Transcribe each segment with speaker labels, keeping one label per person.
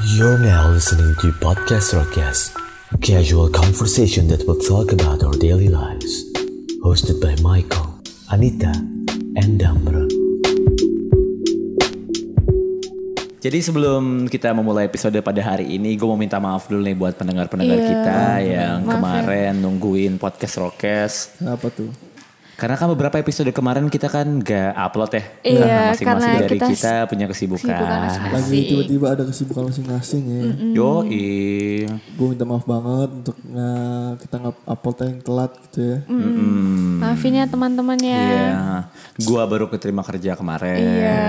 Speaker 1: You're now listening to Podcast Rockcast, a casual conversation that will talk about our daily lives. Hosted by Michael, Anita, and Damra.
Speaker 2: Jadi sebelum kita memulai episode pada hari ini, gue mau minta maaf dulu nih buat pendengar-pendengar
Speaker 3: Iya,
Speaker 2: kita yang
Speaker 3: maaf ya.
Speaker 2: kemarin nungguin podcast Rokes.
Speaker 4: Kenapa tuh?
Speaker 2: Karena kan beberapa episode kemarin kita kan gak upload ya.
Speaker 3: Iya,
Speaker 2: masing-masing
Speaker 3: karena
Speaker 2: dari
Speaker 3: kita
Speaker 2: kita, punya
Speaker 3: kesibukan
Speaker 2: kesibukan.
Speaker 3: masing-masing.
Speaker 4: Lagi
Speaker 3: Asik.
Speaker 4: tiba-tiba ada kesibukan masing-masing ya.
Speaker 2: Yo,
Speaker 4: Gue minta maaf banget untuk nge- kita nggak upload yang telat gitu ya.
Speaker 3: Maafin ya teman-teman ya.
Speaker 2: Iya. Gua baru keterima kerja kemarin.
Speaker 3: Iya.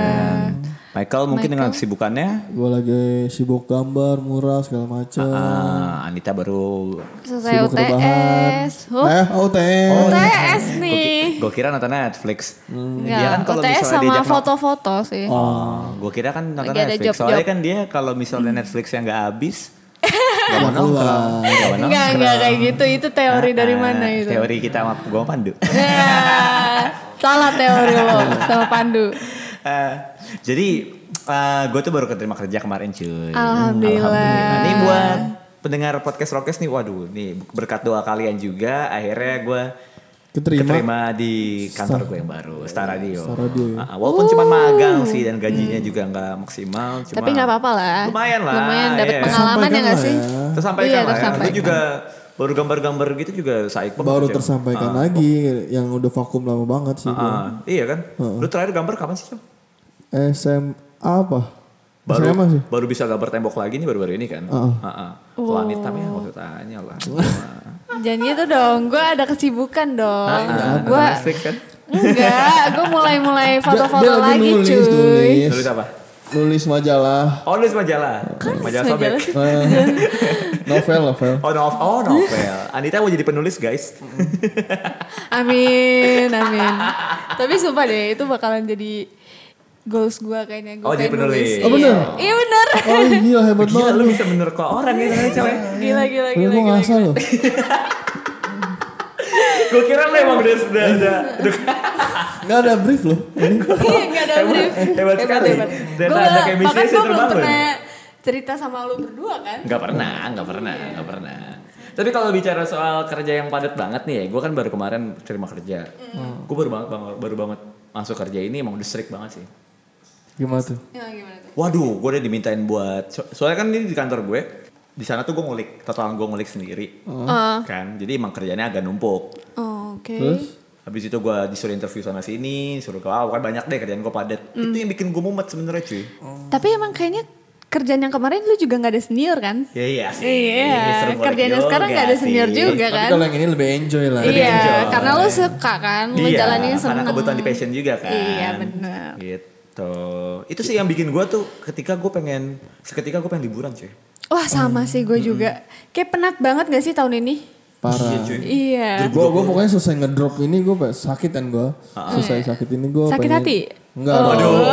Speaker 2: Michael mungkin dengan kesibukannya,
Speaker 4: Gue lagi sibuk gambar, murah segala macam.
Speaker 3: Oh.
Speaker 2: ah, Anita baru.
Speaker 3: Selesai
Speaker 4: Sibuk rebahan.
Speaker 3: UTS. Oh,
Speaker 4: Eh, OTS.
Speaker 3: UTS
Speaker 2: Gua ki-
Speaker 3: nih.
Speaker 2: Gua kira nonton Netflix. Dia
Speaker 3: Enggak,
Speaker 2: kan kalau
Speaker 3: UTS
Speaker 2: misalnya
Speaker 3: sama
Speaker 2: diajak nonton-
Speaker 3: foto-foto sih.
Speaker 2: Oh, gue kira kan nonton
Speaker 3: Lagi ada
Speaker 2: Netflix.
Speaker 3: job-job. Hmm.
Speaker 2: Soalnya kan dia kalau misalnya Netflix yang nggak habis, gak mau
Speaker 4: keluar.
Speaker 2: nongkrong. Nggak mau
Speaker 3: Enggak,
Speaker 2: nongkrong.
Speaker 3: enggak kayak gitu. Itu teori dari mana
Speaker 2: Ah,
Speaker 3: itu?
Speaker 2: Teori kita sama gue Pandu.
Speaker 3: Nah, Salah teori lo sama Pandu.
Speaker 2: Eh, jadi gue tuh baru keterima kerja kemarin cuy.
Speaker 3: Oh. Alhamdulillah.
Speaker 2: Ini buat pendengar podcast Rokes nih, waduh, nih berkat doa kalian juga, akhirnya gue
Speaker 4: Keterima.
Speaker 2: keterima di kantor gue yang baru, Star Radio.
Speaker 4: Star Radio ya.
Speaker 2: Ah, walaupun cuma magang sih dan gajinya juga nggak maksimal. Cuma
Speaker 3: Oh. Tapi nggak apa-apa lah.
Speaker 2: Lumayan lah,
Speaker 3: Lumayan dapat
Speaker 2: iya.
Speaker 3: pengalaman ya
Speaker 4: Tersampaikan
Speaker 3: nggak
Speaker 4: lah
Speaker 3: sih?
Speaker 4: ya.
Speaker 2: tersampaikan
Speaker 3: Iya,
Speaker 2: lah ya.
Speaker 3: tersampaikan.
Speaker 2: Gue juga baru gambar-gambar gitu juga saik banget.
Speaker 4: Baru
Speaker 2: Cem.
Speaker 4: tersampaikan lagi yang udah vakum lama banget sih. gua.
Speaker 2: Ah, iya kan? Lu terakhir gambar kapan sih? Cem?
Speaker 4: SMA apa?
Speaker 2: Baru
Speaker 4: SMA sih.
Speaker 2: baru bisa gambar tembok lagi nih baru-baru ini kan?
Speaker 4: Heeh.
Speaker 2: Ah, ah. Langit tapi ya maksud tanya lah. ah, Wah.
Speaker 3: Jangan gitu dong. Gue ada kesibukan dong.
Speaker 2: Ah,
Speaker 3: Gue
Speaker 2: nonton Netflix kan?
Speaker 3: enggak. Gue mulai-mulai foto-foto
Speaker 4: dia lagi
Speaker 3: lagi
Speaker 4: nulis,
Speaker 3: cuy.
Speaker 4: nulis.
Speaker 2: Tulis apa?
Speaker 4: Nulis majalah.
Speaker 2: Oh, nulis majalah. majalah sobek.
Speaker 4: Eh, novel, novel.
Speaker 2: Oh, novel. Oh, novel. Anita mau jadi penulis, guys.
Speaker 3: Amin, amin. Tapi sumpah deh, itu bakalan jadi goals gue kayaknya.
Speaker 2: Oh,
Speaker 3: Gua
Speaker 2: jadi
Speaker 3: pengen
Speaker 2: penulis.
Speaker 3: nulis.
Speaker 2: Oh,
Speaker 4: bener?
Speaker 3: Iya. Iya bener.
Speaker 4: Oh gila hebat
Speaker 2: Gila,
Speaker 4: banget.
Speaker 2: lu bisa menerka orang ya, ternyata, cewek.
Speaker 3: Gila, gila,
Speaker 4: Lu
Speaker 3: gila.
Speaker 4: gue
Speaker 3: gila,
Speaker 4: ngasal loh.
Speaker 2: Gue kira lu emang udah, udah, udah, udah
Speaker 4: Gak ada brief loh. Ini
Speaker 3: Iya, gak ada brief.
Speaker 2: hebat sekali. Dan
Speaker 3: Gua-
Speaker 2: ada chemistry
Speaker 3: bahkan
Speaker 2: sih,
Speaker 3: gua belum
Speaker 2: terbangun.
Speaker 3: pernah cerita sama lu berdua kan.
Speaker 2: Gak pernah, gak pernah, gak pernah. Tapi kalau bicara soal kerja yang padat banget nih ya, gue kan baru kemarin terima kerja. Gue baru banget, bang- baru banget masuk kerja ini emang udah strict banget sih.
Speaker 4: Gimana tuh?
Speaker 3: Ya, gimana tuh?
Speaker 2: Waduh, gue udah dimintain buat, so- soalnya kan ini di kantor gue, di sana tuh gue ngulik, total gue ngulik sendiri.
Speaker 3: Ah,
Speaker 2: Kan, jadi emang kerjanya agak numpuk.
Speaker 3: oh, Oke.
Speaker 4: Terus?
Speaker 2: Habis itu gue disuruh interview sana sini, suruh ke ah, kan banyak deh kerjaan gue padat.
Speaker 3: Mm.
Speaker 2: Itu yang bikin gue mumet sebenarnya cuy.
Speaker 3: Tapi emang kayaknya kerjaan yang kemarin lu juga gak ada senior kan?
Speaker 2: Ya iya sih.
Speaker 3: Iya,
Speaker 2: seru ngulik
Speaker 3: kerjaan yang
Speaker 2: juga
Speaker 3: sekarang gak ada senior
Speaker 2: Iya sih.
Speaker 3: juga
Speaker 4: Tapi
Speaker 3: kan?
Speaker 4: kalau yang ini lebih enjoy lah.
Speaker 2: Lebih enjoy.
Speaker 3: Iya, karena lu suka kan, lu
Speaker 2: Iya,
Speaker 3: jalaninnya
Speaker 2: karena
Speaker 3: seneng.
Speaker 2: kebutuhan di passion juga kan.
Speaker 3: Iya, benar.
Speaker 2: Gitu. Itu sih yang bikin gue tuh ketika gue pengen, seketika gue pengen liburan cuy.
Speaker 3: Wah sama sih gue juga. Kayak penat banget gak sih tahun ini?
Speaker 2: Iya
Speaker 4: Parah.
Speaker 2: cuy.
Speaker 3: Iya.
Speaker 4: Gue gue pokoknya selesai ngedrop ini gue sakit kan gue. Selesai sakit ini gue
Speaker 3: Sakit hati?
Speaker 4: Enggak
Speaker 3: Oh.
Speaker 4: dong.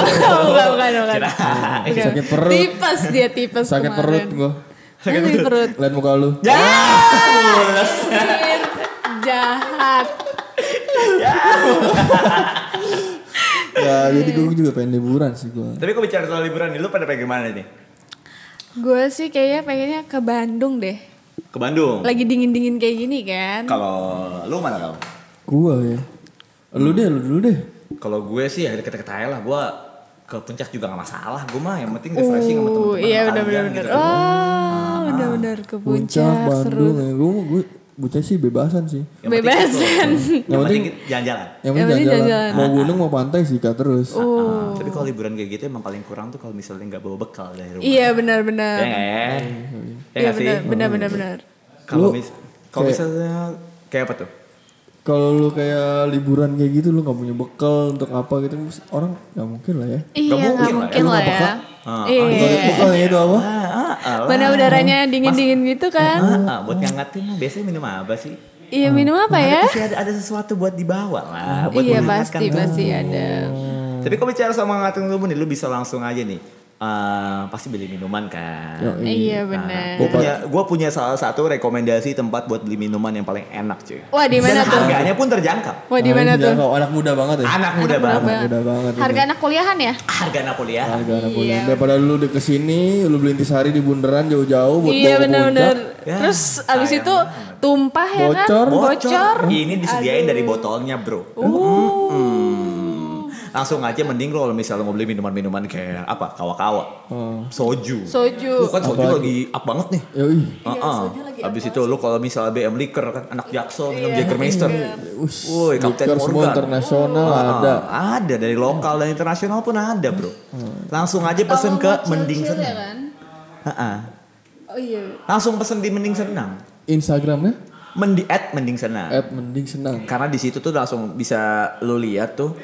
Speaker 3: bukan, bukan, bukan.
Speaker 2: Kirain.
Speaker 3: Bukan.
Speaker 4: Sakit perut.
Speaker 3: Tipes dia tipes
Speaker 4: Sakit perut
Speaker 3: kemarin.
Speaker 4: gue.
Speaker 3: Sakit perut.
Speaker 4: Lihat muka lu.
Speaker 2: Ya, mulus.
Speaker 3: Sakit. Jahat.
Speaker 4: Ya jadi gue juga pengen liburan sih gue.
Speaker 2: Tapi gue bicara soal liburan nih, lu pada pengen kemana nih?
Speaker 3: Gue sih kayaknya pengennya ke Bandung deh.
Speaker 2: Ke Bandung.
Speaker 3: Lagi dingin-dingin kayak gini kan.
Speaker 2: Kalau lu mana kamu?
Speaker 4: Gue ya. Lu deh, lu dulu deh.
Speaker 2: Kalau gue sih ya deket-deket aja lah, gue ke puncak juga gak masalah. Gue mah yang penting refreshing sama
Speaker 3: Uh,
Speaker 2: temen-temen. sama
Speaker 3: iya udah bener
Speaker 2: kalian
Speaker 3: bener.
Speaker 2: gitu.
Speaker 3: Oh, udah bener ke
Speaker 4: Ah, Puncak,
Speaker 3: puncak seru.
Speaker 4: Bandung. Ya. Gue gue bocah sih bebasan sih.
Speaker 3: Oh,
Speaker 2: Yang penting
Speaker 3: Bebasan.
Speaker 2: itu. Yang penting jalan-jalan.
Speaker 4: Yang
Speaker 3: Yang
Speaker 4: penting
Speaker 3: penting Oh.
Speaker 4: jalan-jalan. Mau gunung mau pantai sih kak terus.
Speaker 2: Ah, Tapi kalau liburan kayak gitu emang paling kurang tuh kalau misalnya nggak bawa bekal dari rumah.
Speaker 3: Iya benar-benar.
Speaker 2: Ya nggak ya? Ya
Speaker 3: Iya
Speaker 2: nggak sih?
Speaker 4: Hmm.
Speaker 3: benar-benar benar.
Speaker 2: Kalau
Speaker 4: Lu
Speaker 2: mis kalau
Speaker 4: kayak-
Speaker 2: misalnya kayak apa tuh?
Speaker 4: Kalau lu kayak liburan kayak gitu lu nggak punya bekal untuk apa gitu orang nggak mungkin lah ya.
Speaker 3: Iya
Speaker 2: mungkin
Speaker 3: nggak
Speaker 2: lah ya.
Speaker 3: mungkin
Speaker 4: Lu
Speaker 3: lah
Speaker 4: nggak
Speaker 3: ya.
Speaker 4: peka?
Speaker 2: Ah,
Speaker 4: Bekal,
Speaker 3: Iya.
Speaker 4: bekalnya itu apa?
Speaker 2: Ah, ah,
Speaker 3: Mana udaranya dingin-dingin gitu kan?
Speaker 2: ah, ah, buat nyangatin mah biasanya minum apa sih?
Speaker 3: Iya minum apa ya?
Speaker 2: Pasti ada, ada sesuatu buat dibawa lah, buat
Speaker 3: Iya
Speaker 2: menghangatkan
Speaker 3: pasti
Speaker 2: tubuh.
Speaker 3: pasti ada.
Speaker 5: ya,
Speaker 2: Tapi kalau bicara sama ngangatin tubuh nih, lu bisa langsung aja nih
Speaker 5: eh, pasti beli minuman kan.
Speaker 4: Yo,
Speaker 3: Iya
Speaker 5: Gue
Speaker 3: benar.
Speaker 5: punya, gua punya salah satu rekomendasi tempat buat beli minuman yang paling enak cuy.
Speaker 3: Wah
Speaker 2: Iya.
Speaker 3: di
Speaker 5: Dan
Speaker 3: mana tuh?
Speaker 5: harganya pun terjangkau.
Speaker 3: Wah di mana tuh?
Speaker 4: Kau iya. anak muda banget ya.
Speaker 5: Anak muda banget.
Speaker 3: Bang.
Speaker 4: Muda Nah, banget. ini.
Speaker 3: Harga Iya. anak kuliahan ya?
Speaker 5: Harga Napoleon.
Speaker 4: Harga anak muda. Daripada lu di kesini, lu beli intisari di bundaran jauh-jauh buat
Speaker 3: Iya
Speaker 4: bawa ke
Speaker 3: benar-benar.
Speaker 4: puncak.
Speaker 5: Ya,
Speaker 3: Terus abis
Speaker 5: sayang
Speaker 3: itu tumpah ya kan?
Speaker 4: Bocor.
Speaker 3: Bocor. Uh.
Speaker 5: Ini disediain dari botolnya bro. Mm-mm. Langsung aja mending lo kalau misalnya mau beli minuman-minuman kayak apa kawa-kawa,
Speaker 4: Hmm.
Speaker 5: soju. Iya, Lu
Speaker 3: Soju.
Speaker 5: kan soju lagi up banget nih.
Speaker 4: Yoi.
Speaker 5: Heeh. Habis itu lu kalau misalnya BM Liquor kan anak Jaksel minum Jägermeister. Woi, Kapten
Speaker 4: Liquor semua
Speaker 5: Morgan.
Speaker 4: internasional
Speaker 5: Ah,
Speaker 4: ada.
Speaker 5: Ada dari lokal dan internasional pun ada, Bro.
Speaker 4: Hmm.
Speaker 5: Langsung aja pesen ke Mending Senang. Heeh.
Speaker 3: ya kan? Oh iya.
Speaker 5: Langsung pesen di Mending Senang.
Speaker 4: Instagramnya
Speaker 5: Mendi at Mending Senang.
Speaker 4: at mending senang.
Speaker 5: Karena di situ tuh langsung bisa lu lihat tuh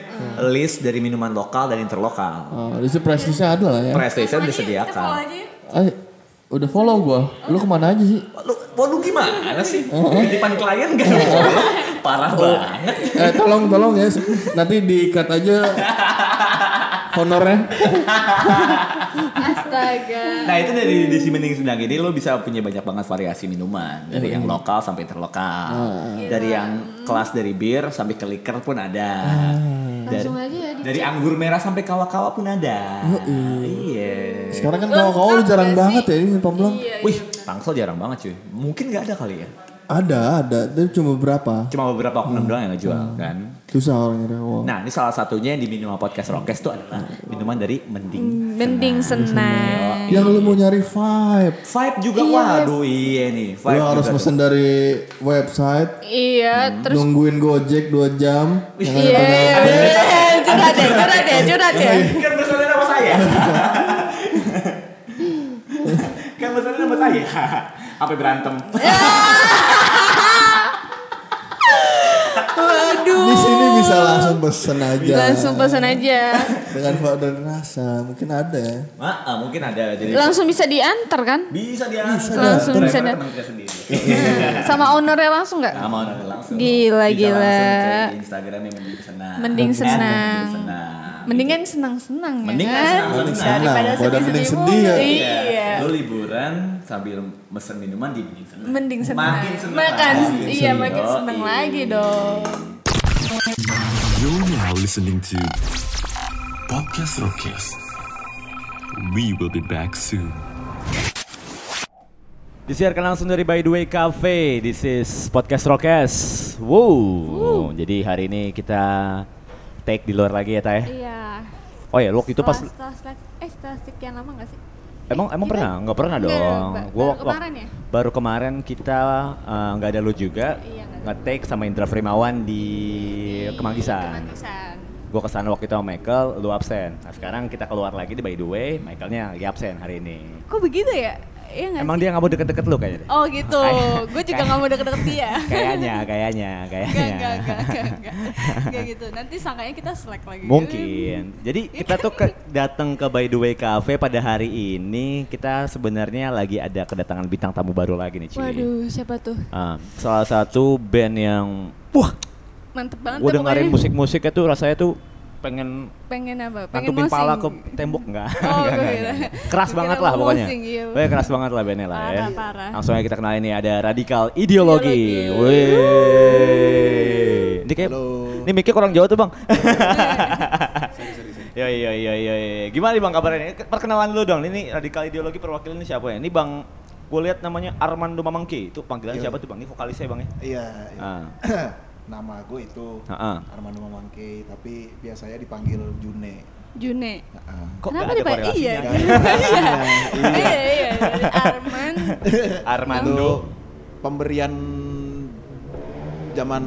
Speaker 5: list dari minuman lokal dan interlokal.
Speaker 4: Ah, di situ prestisnya ada lah ya.
Speaker 5: Press station disediakan.
Speaker 3: ya.
Speaker 4: Eh, udah follow gua. Lu kemana aja sih?
Speaker 5: Lu, wah, lu gimana sih? Titipan klien gak? ada? Parah banget.
Speaker 4: Eh, tolong tolong ya. Nanti diikat aja honornya.
Speaker 3: Astaga.
Speaker 5: Nah itu dari di si Mending Sedang ini lo bisa punya banyak banget variasi minuman dari yang lokal sampai terlokal, dari yang kelas dari bir sampai ke liker pun ada, dari,
Speaker 3: Langsung aja ya di-
Speaker 5: dari anggur merah sampai kawa-kawa pun ada. Iya.
Speaker 4: Sekarang kan kau-kau jarang banget ya ini Pamblang.
Speaker 3: iya,
Speaker 5: Wih, tangsel jarang banget cuy. Mungkin nggak ada kali ya.
Speaker 4: Ada, ada. Tapi cuma berapa?
Speaker 5: Cuma beberapa oknum doang yang ngejual kan.
Speaker 4: Susah orang nyari kau.
Speaker 5: Nah ini salah satunya yang di minuman podcast Rockes itu adalah minuman dari Mending.
Speaker 3: Mending senang.
Speaker 4: Yang lu mau nyari vibe,
Speaker 5: Vibe juga, waduh iya nih. Vibe
Speaker 4: lu harus
Speaker 5: juga tuh.
Speaker 4: pesen dari website,
Speaker 3: Iya, terus
Speaker 4: nungguin Gojek 2 jam. Yang ada
Speaker 3: Iya,
Speaker 4: tanda-
Speaker 3: iya, curhat ya, curhat ya, curhat ya.
Speaker 2: Iya.
Speaker 5: kan bersalin sama saya kan bersalin sama saya sampai berantem
Speaker 3: Waduh.
Speaker 4: Di sini bisa langsung pesen aja.
Speaker 3: Langsung pesan aja.
Speaker 4: Dengan vibe dan rasa, mungkin ada ya.
Speaker 5: Mak, ah, mungkin ada jadi
Speaker 3: Langsung bisa diantar kan?
Speaker 5: bisa dia langsung
Speaker 3: Langsung bisa dia-
Speaker 5: teman kita sendiri
Speaker 3: Sama ownernya langsung nggak?
Speaker 5: Nah, mau nonton Iya, langsung
Speaker 3: Gila,
Speaker 5: Bisa
Speaker 3: gila.
Speaker 5: langsung cek Instagramnya mending senang
Speaker 3: Mending
Speaker 5: Eh,
Speaker 3: senang.
Speaker 5: mending senang
Speaker 3: Mendingan senang-senang ya
Speaker 5: Mendingan
Speaker 3: kan?
Speaker 5: senang-senang.
Speaker 3: Daripada
Speaker 4: Senang, daripada
Speaker 3: sedih-sedih
Speaker 4: sedih
Speaker 3: mulu.
Speaker 4: ya.
Speaker 3: Iya.
Speaker 5: Lu liburan sambil mesen minuman di mending senang
Speaker 3: Mending senang.
Speaker 5: makin senang
Speaker 3: Makan,
Speaker 5: lagi.
Speaker 3: iya makin
Speaker 5: Yoi.
Speaker 3: senang lagi dong.
Speaker 6: You're now listening to Podcast Rockcast. We will be back soon.
Speaker 2: Disiarkan langsung dari By The Way Cafe. This is Podcast Rockes. Wow. Jadi hari ini kita take di luar lagi ya, Tay.
Speaker 7: Iya.
Speaker 2: Oh ya, lu waktu itu pas
Speaker 7: Setelah, setelah, setelah- eh setelah sekian lama gak sih?
Speaker 2: emang emang pernah? Enggak pernah
Speaker 7: Enggak,
Speaker 2: dong.
Speaker 7: ba-
Speaker 2: Gua
Speaker 7: baru
Speaker 2: wak-
Speaker 7: kemarin ya?
Speaker 2: Baru kemarin kita eh, nggak ada lu juga.
Speaker 7: Iya, nggak ada.
Speaker 2: Nge-take sama Indra Frimawan di Iya, Kemanggisan.
Speaker 7: Kemanggisan.
Speaker 2: Gua kesana waktu itu sama Michael, lu absen. Nah, sekarang kita keluar lagi di By The Way, Michaelnya lagi absen hari ini.
Speaker 7: Kok begitu ya? Iya gak
Speaker 2: Emang
Speaker 7: sih?
Speaker 2: dia nggak mau deket-deket lu kayaknya? deh?
Speaker 7: Oh gitu.
Speaker 2: Kayak-
Speaker 7: Gue juga gak mau deket-deket dia.
Speaker 2: Kayaknya, kayaknya, kayaknya.
Speaker 7: Gak, gak, gak, gak, gak. Gak gitu. Nanti sangkanya kita slack lagi.
Speaker 2: Mungkin. Jadi kita tuh ke, datang ke By the Way Cafe pada hari ini kita sebenarnya lagi ada kedatangan bintang tamu baru lagi nih, Ci.
Speaker 3: Waduh, siapa tuh?
Speaker 2: Ah, salah satu band yang wah,
Speaker 7: Mantep banget
Speaker 2: gue
Speaker 7: ya
Speaker 2: dengerin
Speaker 7: pokoknya.
Speaker 2: musik-musiknya tuh rasanya tuh pengen
Speaker 7: Pengen apa? Pengen
Speaker 2: nantupin
Speaker 7: mosing.
Speaker 2: pala ke tembok enggak?
Speaker 7: Oh, gue
Speaker 2: Enggak, enggak,
Speaker 7: kira-
Speaker 2: enggak. Keras
Speaker 7: gue
Speaker 2: banget
Speaker 7: kira
Speaker 2: lah
Speaker 7: lu
Speaker 2: pokoknya.
Speaker 7: mosing, iya.
Speaker 2: Pokoknya keras banget lah bandnya lah ya.
Speaker 7: Parah, parah.
Speaker 2: Langsung aja kita kenalin nih ada Radikal Ideologi.
Speaker 7: Ideologi.
Speaker 2: Wih. Ini kayak ini mikir orang Jawa tuh, Bang. Yo yo yo yo. yo. Gimana nih Bang kabarnya? Perkenalan dulu dong. Ini Radikal Ideologi perwakilan ini siapa ya? Ini Bang gue lihat namanya Armando Mamangki. Itu panggilan siapa tuh Bang? Ini vokalisnya Bang ya?
Speaker 8: Iya. iya.
Speaker 2: Ah.
Speaker 8: Nama gue itu
Speaker 2: Ah, ah.
Speaker 8: Armando Mamangke, tapi biasanya dipanggil June.
Speaker 7: June.
Speaker 8: Ah,
Speaker 2: Kok
Speaker 7: Kenapa
Speaker 2: nggak ada ya?
Speaker 7: dia Pak?
Speaker 2: korelasinya?
Speaker 7: Iya. Iya. Iya, iya. dari Arman.
Speaker 2: Armando.
Speaker 8: Itu pemberian zaman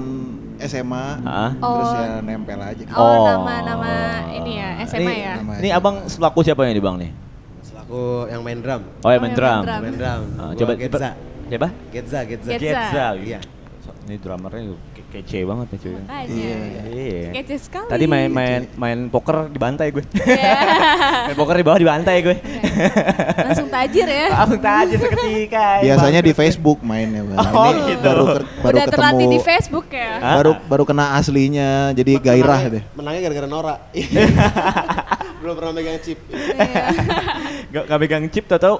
Speaker 8: SMA,
Speaker 2: Ah.
Speaker 8: terus
Speaker 7: Oh.
Speaker 8: ya nempel aja. Gitu.
Speaker 7: Oh,
Speaker 2: Oh.
Speaker 7: nama-nama ini ya, SMA
Speaker 2: Ini-
Speaker 7: ya.
Speaker 8: Nama
Speaker 2: Ini
Speaker 8: SMA.
Speaker 2: abang selaku siapa ini bang nih?
Speaker 9: Selaku yang main drum.
Speaker 2: Oh,
Speaker 7: Oh,
Speaker 2: yang main
Speaker 7: yang
Speaker 2: drum.
Speaker 7: main drum.
Speaker 9: Main drum.
Speaker 2: Ah,
Speaker 9: Gua
Speaker 2: coba
Speaker 9: Getza.
Speaker 2: Coba.
Speaker 9: Getza, Getza.
Speaker 7: Getza.
Speaker 9: Iya.
Speaker 2: Ini drummernya ke- kece banget ya cuy.
Speaker 7: Makanya.
Speaker 2: Iya.
Speaker 7: Kece sekali. Iya.
Speaker 2: Tadi main main main poker dibantai gue. main poker di bawah dibantai gue.
Speaker 7: Langsung tajir ya.
Speaker 2: Langsung aja seketika. ya,
Speaker 8: Biasanya
Speaker 2: Bang.
Speaker 8: di Facebook mainnya, Bang. Nah,
Speaker 2: Oh, gitu.
Speaker 8: baru, ker- baru
Speaker 7: Udah terlatih
Speaker 8: ketemu,
Speaker 7: di Facebook ya.
Speaker 2: Hah?
Speaker 8: baru baru kena aslinya, jadi gairah deh.
Speaker 9: Menangnya gara-gara Nora. belum pernah megang chip.
Speaker 2: gak, gak pegang chip tau tau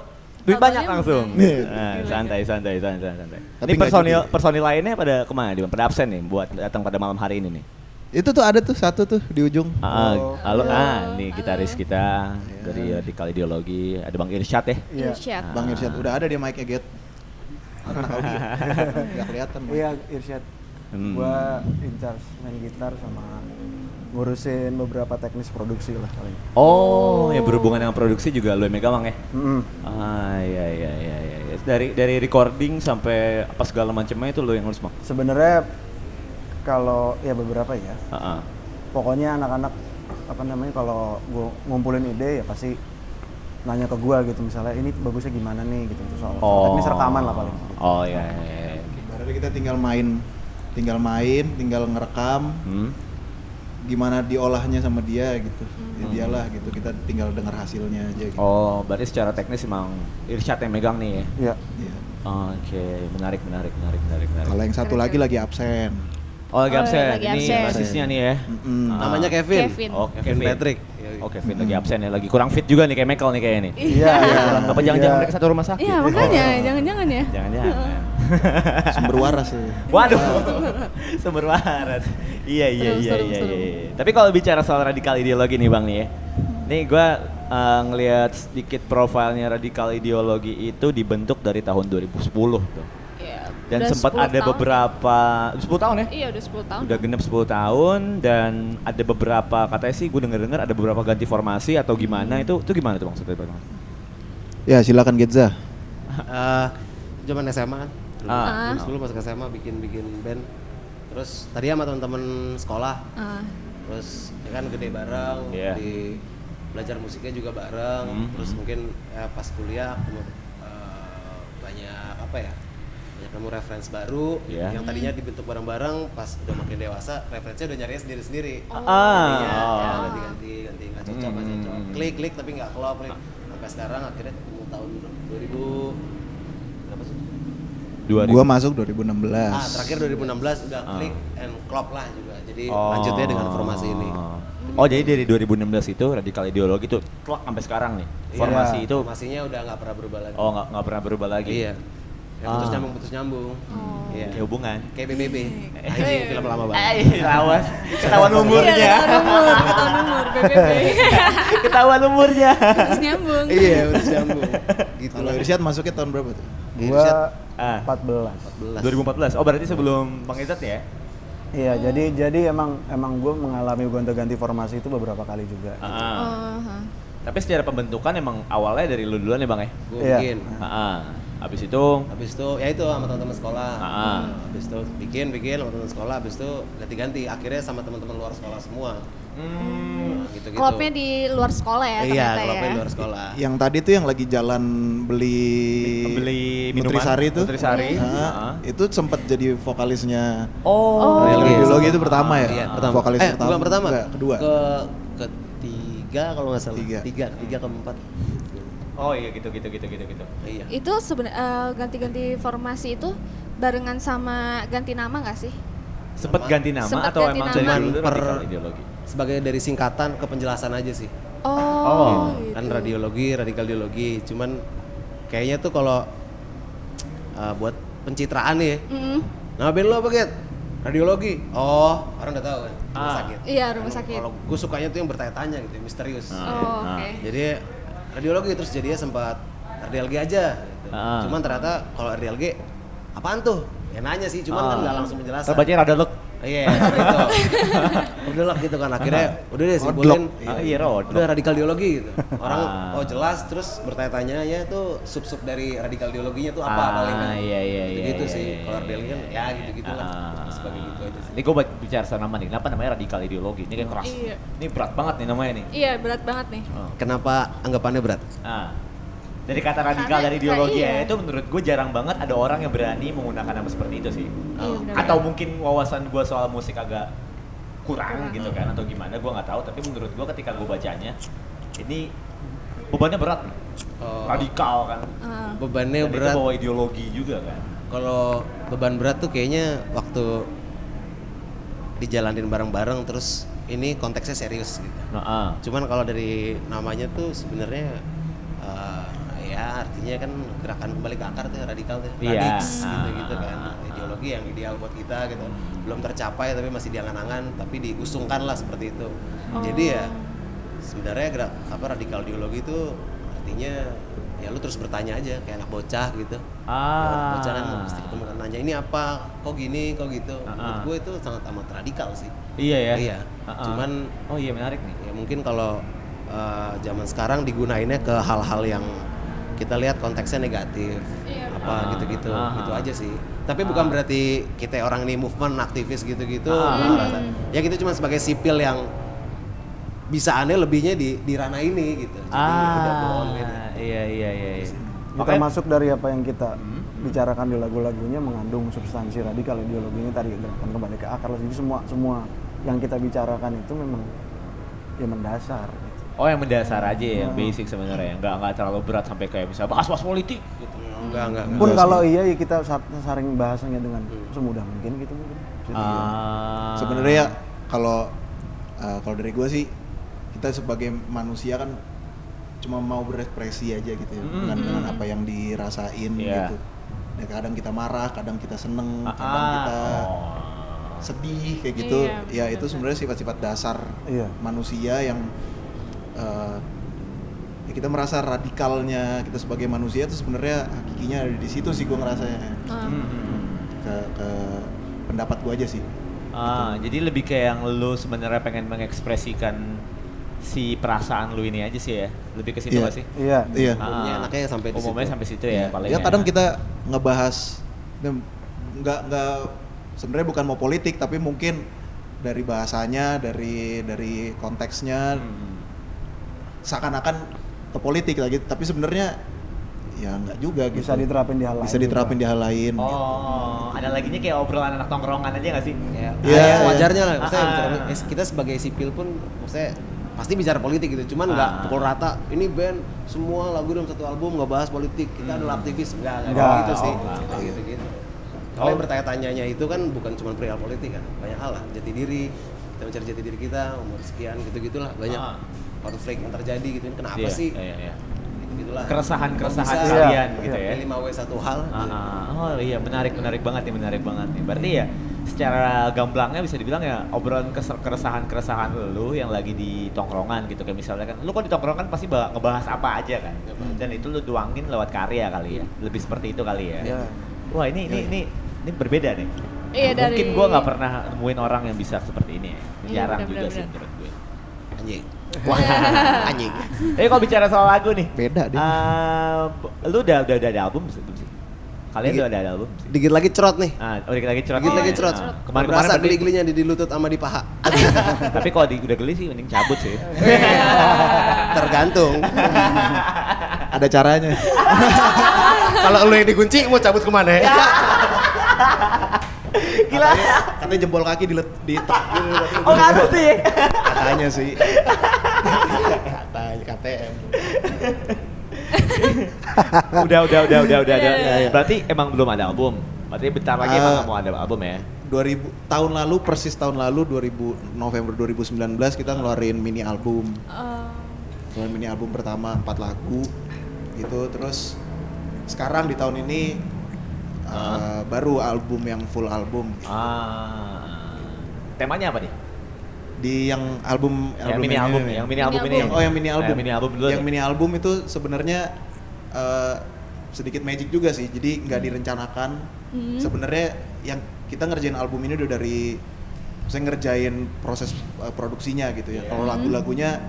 Speaker 2: duit
Speaker 7: Tau-taunya
Speaker 2: banyak langsung.
Speaker 4: Iya.
Speaker 2: Nah, santai, santai, santai, santai.
Speaker 8: Tapi
Speaker 2: Ini
Speaker 8: nggak
Speaker 2: personil
Speaker 8: jadi.
Speaker 2: personil lainnya pada kemana? Di pada absen nih buat datang pada malam hari ini nih.
Speaker 8: Itu tuh ada tuh satu tuh di ujung.
Speaker 2: Ah,
Speaker 8: Oh.
Speaker 2: halo, ah, nih gitaris kita dari radikal ideologi ada Bang Irsyad ya.
Speaker 4: Iya.
Speaker 7: Irsyad.
Speaker 8: Bang Irsyad udah ada dia mic-nya get. Anak audio. Enggak kelihatan. Bang.
Speaker 10: Iya, Irsyad.
Speaker 2: Hmm.
Speaker 10: Gua in charge main gitar sama ngurusin beberapa teknis produksi lah paling.
Speaker 2: Oh, yang berhubungan dengan produksi juga lo yang megang Bang ya.
Speaker 10: Mm-mm.
Speaker 2: Ah, iya iya iya iya. iya. Dari dari recording sampai apa segala macamnya itu lo yang ngurus, Bang.
Speaker 10: Sebenarnya kalau ya beberapa ya.
Speaker 2: Heeh.
Speaker 10: Pokoknya anak-anak apa namanya kalau gua ngumpulin ide ya pasti nanya ke gua gitu misalnya ini bagusnya gimana nih gitu soal, soal teknis rekaman lah paling.
Speaker 2: Oh iya iya. iya.
Speaker 8: Berarti kita tinggal main, tinggal main, tinggal ngerekam,
Speaker 2: Hmm.
Speaker 8: gimana diolahnya sama dia gitu. Ya
Speaker 9: Hmm.
Speaker 8: dialah gitu. Kita tinggal dengar hasilnya aja gitu.
Speaker 2: Oh, berarti secara teknis emang Irsyad yang megang nih ya.
Speaker 10: Iya.
Speaker 8: Iya.
Speaker 2: Oke, menarik menarik menarik menarik menarik.
Speaker 8: Kalau yang satu lagi lagi absen.
Speaker 2: Oh, lagi
Speaker 7: Oh,
Speaker 2: absen.
Speaker 7: lagi
Speaker 2: Ini
Speaker 7: absen.
Speaker 2: basisnya nih ya.
Speaker 8: Mm-mm.
Speaker 2: Ah.
Speaker 9: Namanya Kevin.
Speaker 7: Kevin.
Speaker 2: Oh,
Speaker 9: Kevin Patrick.
Speaker 2: Oh, Kevin lagi absen ya, lagi kurang fit juga nih kayak Michael nih kayaknya nih. Ah,
Speaker 10: Iya, iya.
Speaker 2: Apa jangan-jangan mereka satu rumah sakit? Oh,
Speaker 7: Iya makanya jangan-jangan ya.
Speaker 2: Iya. Jangan-jangan.
Speaker 8: Sumber waras ya.
Speaker 2: Waduh, sumber waras. Iya iya
Speaker 7: Serem,
Speaker 2: iya
Speaker 7: serem,
Speaker 2: iya.
Speaker 7: serem.
Speaker 2: iya. Tapi kalau bicara soal radikal ideologi nih bang nih ya, nih gue ngelihat sedikit profilnya radikal ideologi itu dibentuk dari tahun 2010 tuh.
Speaker 7: Iya,
Speaker 2: Dan
Speaker 7: udah
Speaker 2: sempat
Speaker 7: 10
Speaker 2: ada
Speaker 7: tahun.
Speaker 2: beberapa 10 tahun ya?
Speaker 7: Iya udah 10 tahun.
Speaker 2: Udah genep 10 tahun dan ada beberapa katanya sih gue denger-denger ada beberapa ganti formasi atau gimana itu itu gimana tuh maksudnya bang?
Speaker 8: Ya silakan Getza.
Speaker 9: Eh, cuman SMA kan. Dulu,
Speaker 2: Ah.
Speaker 9: terus dulu masuk SMA bikin-bikin band. Terus tadi sama teman-teman sekolah.
Speaker 7: Ah.
Speaker 9: Terus ya kan gede bareng
Speaker 2: Iya. Hmm,
Speaker 9: di belajar musiknya juga bareng. Terus mungkin ya, pas kuliah ketemu, eh, banyak apa ya? Banyak nemu reference baru
Speaker 2: Iya.
Speaker 9: yang tadinya dibentuk bareng-bareng pas udah makin dewasa referensinya udah nyariin sendiri-sendiri.
Speaker 2: Ah. Hmm,
Speaker 9: Gantinya, ya, ganti-ganti, ganti nggak cocok, nggak cocok. Klik-klik tapi nggak klop. klik. Sampai sekarang akhirnya ketemu tahun 2000 berapa sih?
Speaker 2: Dua
Speaker 8: Gua masuk 2016.
Speaker 9: Ah, terakhir 2016 udah
Speaker 2: Ah.
Speaker 9: klik and klop lah juga. Jadi lanjutnya dengan formasi ini.
Speaker 2: Oh jadi dari 2016 itu radikal ideologi itu klok sampai sekarang nih formasi
Speaker 9: Iya,
Speaker 2: itu
Speaker 9: formasinya udah nggak pernah berubah lagi.
Speaker 2: oh nggak nggak pernah berubah lagi.
Speaker 9: Iya. Ya, putus
Speaker 2: Ah.
Speaker 9: nyambung, putus nyambung.
Speaker 7: Oh.
Speaker 9: Iya.
Speaker 2: Kayak hubungan.
Speaker 9: Kayak BBB. Anjing film lama banget.
Speaker 2: Eh, lawas. Ketahuan
Speaker 7: Iya,
Speaker 2: umurnya.
Speaker 7: tahun umur, tahun umur, BBB.
Speaker 2: Ketahuan umurnya.
Speaker 7: Terus nyambung.
Speaker 9: Iya, putus nyambung. Gitu
Speaker 8: Kalau
Speaker 9: loh.
Speaker 8: Irsyad masuknya tahun berapa tuh?
Speaker 10: Gua
Speaker 2: Ah.
Speaker 10: 14.
Speaker 2: 2014. Oh berarti sebelum Bang Ezat ya?
Speaker 10: Iya, jadi jadi emang emang gue mengalami gonta-ganti formasi itu beberapa kali juga.
Speaker 2: Ah.
Speaker 7: Oh, ha.
Speaker 2: Tapi secara pembentukan emang awalnya dari lu duluan ya Bang ya?
Speaker 9: Gue
Speaker 10: Iya.
Speaker 9: bikin.
Speaker 2: Ah. Habis itu
Speaker 9: Habis itu ya itu sama teman-teman sekolah.
Speaker 2: Ah.
Speaker 9: Habis itu bikin bikin sama teman sekolah, habis itu ganti-ganti akhirnya sama teman-teman luar sekolah semua. Hmm, gitu-gitu.
Speaker 7: Klopnya di luar sekolah ya
Speaker 9: Iya,
Speaker 7: ternyata
Speaker 9: klopnya
Speaker 7: ya.
Speaker 9: luar sekolah.
Speaker 8: Yang tadi tuh yang lagi jalan beli
Speaker 2: beli minuman
Speaker 8: Nutrisari tuh.
Speaker 2: Nutrisari.
Speaker 8: Ah,
Speaker 2: Ah.
Speaker 8: itu sempat jadi vokalisnya
Speaker 2: Oh.
Speaker 8: Real
Speaker 9: Iya,
Speaker 8: Ideologi
Speaker 9: sama.
Speaker 8: itu pertama ya?
Speaker 9: Iya, pertama.
Speaker 8: Vokalis
Speaker 9: eh,
Speaker 8: pertama.
Speaker 9: bukan pertama.
Speaker 8: Enggak, kedua.
Speaker 9: Ke ketiga kalau nggak salah.
Speaker 8: Tiga.
Speaker 9: Tiga, ketiga keempat.
Speaker 2: Oh iya gitu gitu gitu gitu gitu.
Speaker 9: Iya.
Speaker 7: Itu sebenarnya ganti-ganti formasi itu barengan sama ganti nama nggak sih?
Speaker 2: Sempet ganti nama
Speaker 7: Sempet
Speaker 2: atau
Speaker 7: ganti
Speaker 2: emang
Speaker 7: nama.
Speaker 2: dari dulu
Speaker 9: Per-
Speaker 2: radikal ideologi?
Speaker 9: Sebagai dari singkatan ke penjelasan aja sih.
Speaker 7: Oh, gitu.
Speaker 9: Kan radiologi, radikal ideologi. Cuman kayaknya tuh kalau eh, buat pencitraan nih ya.
Speaker 7: Mm-mm.
Speaker 9: Nama band lo apa, Get? Radiologi. Oh, orang udah tahu kan. Rumah sakit.
Speaker 7: Iya, rumah sakit.
Speaker 9: Kalau gue sukanya tuh yang bertanya-tanya gitu, yang misterius.
Speaker 7: Oh, oke.
Speaker 9: Jadi radiologi terus jadinya sempat RDLG aja. Gitu.
Speaker 2: Ah.
Speaker 9: Cuman ternyata kalau RDLG apaan tuh? Ya nanya sih, cuman
Speaker 7: Ah.
Speaker 9: kan nggak langsung menjelaskan.
Speaker 2: Terbaca radalek.
Speaker 9: Iya, gitu. Udah lah gitu kan akhirnya udah deh simpulin.
Speaker 2: Nah, Ah, iya, Ah. rodok.
Speaker 9: Udah radikal ideologi gitu. Orang oh jelas terus bertanya-tanya ya tuh sub-sub dari radikal ideologinya tuh apa
Speaker 2: Ah,
Speaker 9: paling kan.
Speaker 2: iya, iya,
Speaker 9: gitu,
Speaker 2: iya,
Speaker 9: gitu
Speaker 2: iya,
Speaker 9: sih.
Speaker 2: iya,
Speaker 9: Kalau
Speaker 2: iya,
Speaker 9: RDLG kan ya gitu-gitu lah.
Speaker 2: Ah.
Speaker 9: Sebagai gitu aja sih.
Speaker 2: Ini gue bicara soal nama nih, kenapa namanya radikal ideologi? Ini kan keras.
Speaker 7: Iya.
Speaker 2: Ini berat banget nih namanya nih.
Speaker 7: Iya, berat banget nih.
Speaker 9: Oh. Kenapa anggapannya berat?
Speaker 2: Ah. Dari kata radikal
Speaker 7: Karena-
Speaker 2: dari ideologi
Speaker 7: iya.
Speaker 2: ya, itu menurut gue jarang banget ada orang yang berani menggunakan nama seperti itu sih.
Speaker 7: Iya, benar.
Speaker 2: Atau mungkin wawasan gue soal musik agak kurang gitu kan, atau gimana gue nggak tahu. Tapi menurut gue ketika gue bacanya, ini bebannya berat nih.
Speaker 9: Oh.
Speaker 2: Radikal kan.
Speaker 7: Ah.
Speaker 9: Bebannya
Speaker 2: Dan itu
Speaker 9: berat.
Speaker 2: bawa ideologi juga kan.
Speaker 9: Kalau beban berat tuh kayaknya waktu dijalanin bareng-bareng terus ini konteksnya serius gitu.
Speaker 2: Nah, ah.
Speaker 9: Cuman kalau dari namanya tuh sebenarnya eh, ya artinya kan gerakan kembali ke akar tuh radikal tuh,
Speaker 2: Iya.
Speaker 9: radix
Speaker 2: Ah.
Speaker 9: gitu-gitu kan. Ideologi yang ideal buat kita gitu. Belum tercapai tapi masih diangan-angan tapi diusungkan lah seperti itu. Jadi ya sebenarnya gerak apa radikal ideologi itu artinya ya lu terus bertanya aja kayak anak bocah gitu.
Speaker 2: Ah.
Speaker 9: Anak bocah kan mesti ketemu kan nanya ini apa, kok gini, kok gitu. Menurut gue itu sangat amat radikal sih.
Speaker 2: Iya Ah. ya.
Speaker 9: Iya.
Speaker 2: Ah, ah.
Speaker 9: Cuman
Speaker 2: oh iya menarik nih.
Speaker 9: Ya mungkin kalau eh, zaman sekarang digunainnya ke hal-hal yang kita lihat konteksnya negatif apa gitu-gitu
Speaker 2: Ah.
Speaker 9: gitu aja sih. Tapi bukan berarti kita orang ini movement aktivis gitu-gitu.
Speaker 2: Ah.
Speaker 9: nggak merasa. Ya kita cuma sebagai sipil yang bisa aneh lebihnya di di ranah ini gitu. Jadi udah
Speaker 2: Ah.
Speaker 9: bohong gitu.
Speaker 2: Iya iya iya. iya.
Speaker 10: Maka masuk dari apa yang kita bicarakan di lagu-lagunya mengandung substansi radikal ideologi ini tadi gerakan kembali ke akar. Jadi semua semua yang kita bicarakan itu memang ya mendasar. gitu.
Speaker 2: Oh yang mendasar aja ya, yang basic sebenarnya, nggak nggak terlalu berat sampai kayak misalnya bahas-bahas politik gitu.
Speaker 9: Enggak, enggak, enggak.
Speaker 10: Pun kalau iya ya kita sa- saring bahasanya dengan
Speaker 8: Hmm.
Speaker 10: semudah mungkin gitu mungkin. Jadi,
Speaker 2: Ah.
Speaker 8: Sebenarnya ya, kalau eh, kalau dari gue sih kita sebagai manusia kan cuma mau berekspresi aja gitu ya dengan dengan apa yang dirasain
Speaker 2: Iya.
Speaker 8: gitu. Ya, kadang kita marah, kadang kita seneng,
Speaker 2: Ah,
Speaker 8: kadang kita
Speaker 2: oh.
Speaker 8: sedih kayak gitu.
Speaker 3: Iya,
Speaker 8: ya itu sebenarnya sifat-sifat dasar
Speaker 10: Iya.
Speaker 8: manusia yang eh, ya kita merasa radikalnya kita sebagai manusia itu sebenarnya hakikinya ada di situ sih gue ngerasanya
Speaker 2: Oh.
Speaker 8: ke, ke pendapat gue aja sih.
Speaker 2: Ah, jadi lebih kayak yang lu sebenarnya pengen mengekspresikan si perasaan lu ini aja sih ya. Lebih ke situ
Speaker 8: Iya.
Speaker 2: nggak sih? Ah,
Speaker 10: Iya.
Speaker 8: Iya.
Speaker 9: Umumnya enaknya sampai di
Speaker 2: Umumnya
Speaker 9: situ. Iya.
Speaker 2: sampai situ ya paling.
Speaker 8: ya kadang kita ngebahas ini nggak nggak sebenarnya bukan mau politik tapi mungkin dari bahasanya dari dari konteksnya
Speaker 2: Hmm.
Speaker 8: seakan-akan ke politik lagi tapi sebenarnya ya nggak juga gitu
Speaker 10: Bisa diterapin di hal lain.
Speaker 8: bisa diterapin di hal lain gitu.
Speaker 2: Oh, ada laginya kayak obrolan anak tongkrongan aja nggak sih?
Speaker 9: ya,
Speaker 8: Iya,
Speaker 9: ya,
Speaker 8: iya.
Speaker 9: wajarnya lah maksudnya
Speaker 2: Ah,
Speaker 9: bicara-
Speaker 2: ah.
Speaker 9: eh, kita sebagai sipil pun maksudnya pasti bicara politik gitu cuman nggak
Speaker 2: Ah.
Speaker 9: pukul rata ini band semua lagu dalam satu album nggak bahas politik kita adalah aktivis nggak nggak
Speaker 10: Nggak,
Speaker 9: gitu sih
Speaker 2: oh, Hmm. nggak. Oh.
Speaker 9: Nggak gitu gitu kalau yang bertanya-tanyanya itu kan bukan cuma perihal politik kan banyak hal lah jati diri kita mencari jati diri kita umur sekian gitu gitulah banyak
Speaker 2: Ah.
Speaker 9: konflik yang terjadi gitu kenapa
Speaker 2: Iya,
Speaker 9: sih
Speaker 2: Iya, iya.
Speaker 9: gitu gitulah
Speaker 2: Keresahan-keresahan
Speaker 9: Bisa
Speaker 2: kalian
Speaker 10: Iya,
Speaker 2: gitu ya.
Speaker 9: lima w satu hal
Speaker 2: Ah,
Speaker 9: gitu.
Speaker 2: ah. oh iya menarik menarik banget nih menarik banget nih. Berarti ya secara gamblangnya bisa dibilang ya obrolan keresahan keresahan lu yang lagi di tongkrongan gitu kayak misalnya kan lu kok di tongkrongan pasti ba- ngebahas apa aja kan dan itu lu tuangin lewat karya kali ya lebih seperti itu kali ya.
Speaker 10: Iya.
Speaker 2: Wah ini ini ini ini berbeda nih.
Speaker 3: Iya,
Speaker 2: Mungkin
Speaker 3: dari-
Speaker 2: gua nggak pernah nemuin orang yang bisa seperti ini ya.
Speaker 3: Iya,
Speaker 2: Jarang
Speaker 3: benar,
Speaker 2: juga
Speaker 3: benar,
Speaker 2: sih
Speaker 3: benar.
Speaker 2: menurut gue.
Speaker 9: anjing wah anjing
Speaker 2: Tapi kalau bicara soal lagu nih,
Speaker 8: Beda deh.
Speaker 2: eh, lu udah udah udah ada album belum sih? Kalian
Speaker 9: Dikit.
Speaker 2: udah ada album? belum sih?
Speaker 9: dikit lagi cerot nih
Speaker 2: Ah, oh, dikit lagi cerot.
Speaker 9: Dikit
Speaker 2: nih.
Speaker 9: lagi cerot.
Speaker 2: Ah,
Speaker 9: Kemarin
Speaker 2: Kemarin kemarin berarti-
Speaker 9: geli-gelinya di, di lutut sama di paha.
Speaker 2: Tapi kalau di, udah geli sih mending cabut sih.
Speaker 9: Tergantung.
Speaker 8: ada caranya
Speaker 9: Kalau lu yang dikunci mau cabut kemana ya?
Speaker 2: Gila.
Speaker 8: katanya jempol kaki di di
Speaker 2: Oh ngasut sih.
Speaker 8: katanya sih katanya KTM
Speaker 2: Udah udah udah udah udah. udah.
Speaker 8: Iya, iya.
Speaker 2: Berarti emang belum ada album. Berarti bentar lagi
Speaker 8: Ah.
Speaker 2: emang nggak mau ada album ya.
Speaker 8: 2000 tahun lalu persis tahun lalu 2000 November 2019 kita ngeluarin mini album. Ngeluarin mini album pertama empat lagu gitu terus sekarang di tahun ini uh, baru album yang full album
Speaker 2: Ah. Temanya apa nih?
Speaker 8: di yang album
Speaker 2: yang mini
Speaker 8: ini
Speaker 2: album,
Speaker 8: nih.
Speaker 2: yang mini album ini.
Speaker 8: oh yang mini
Speaker 2: Nah,
Speaker 8: album
Speaker 2: Yang mini album dulu.
Speaker 8: yang mini album itu sebenarnya eh, sedikit magic juga sih jadi nggak
Speaker 2: Hmm.
Speaker 8: direncanakan sebenarnya yang kita ngerjain album ini udah dari saya ngerjain proses eh, produksinya gitu ya kalau lagu-lagunya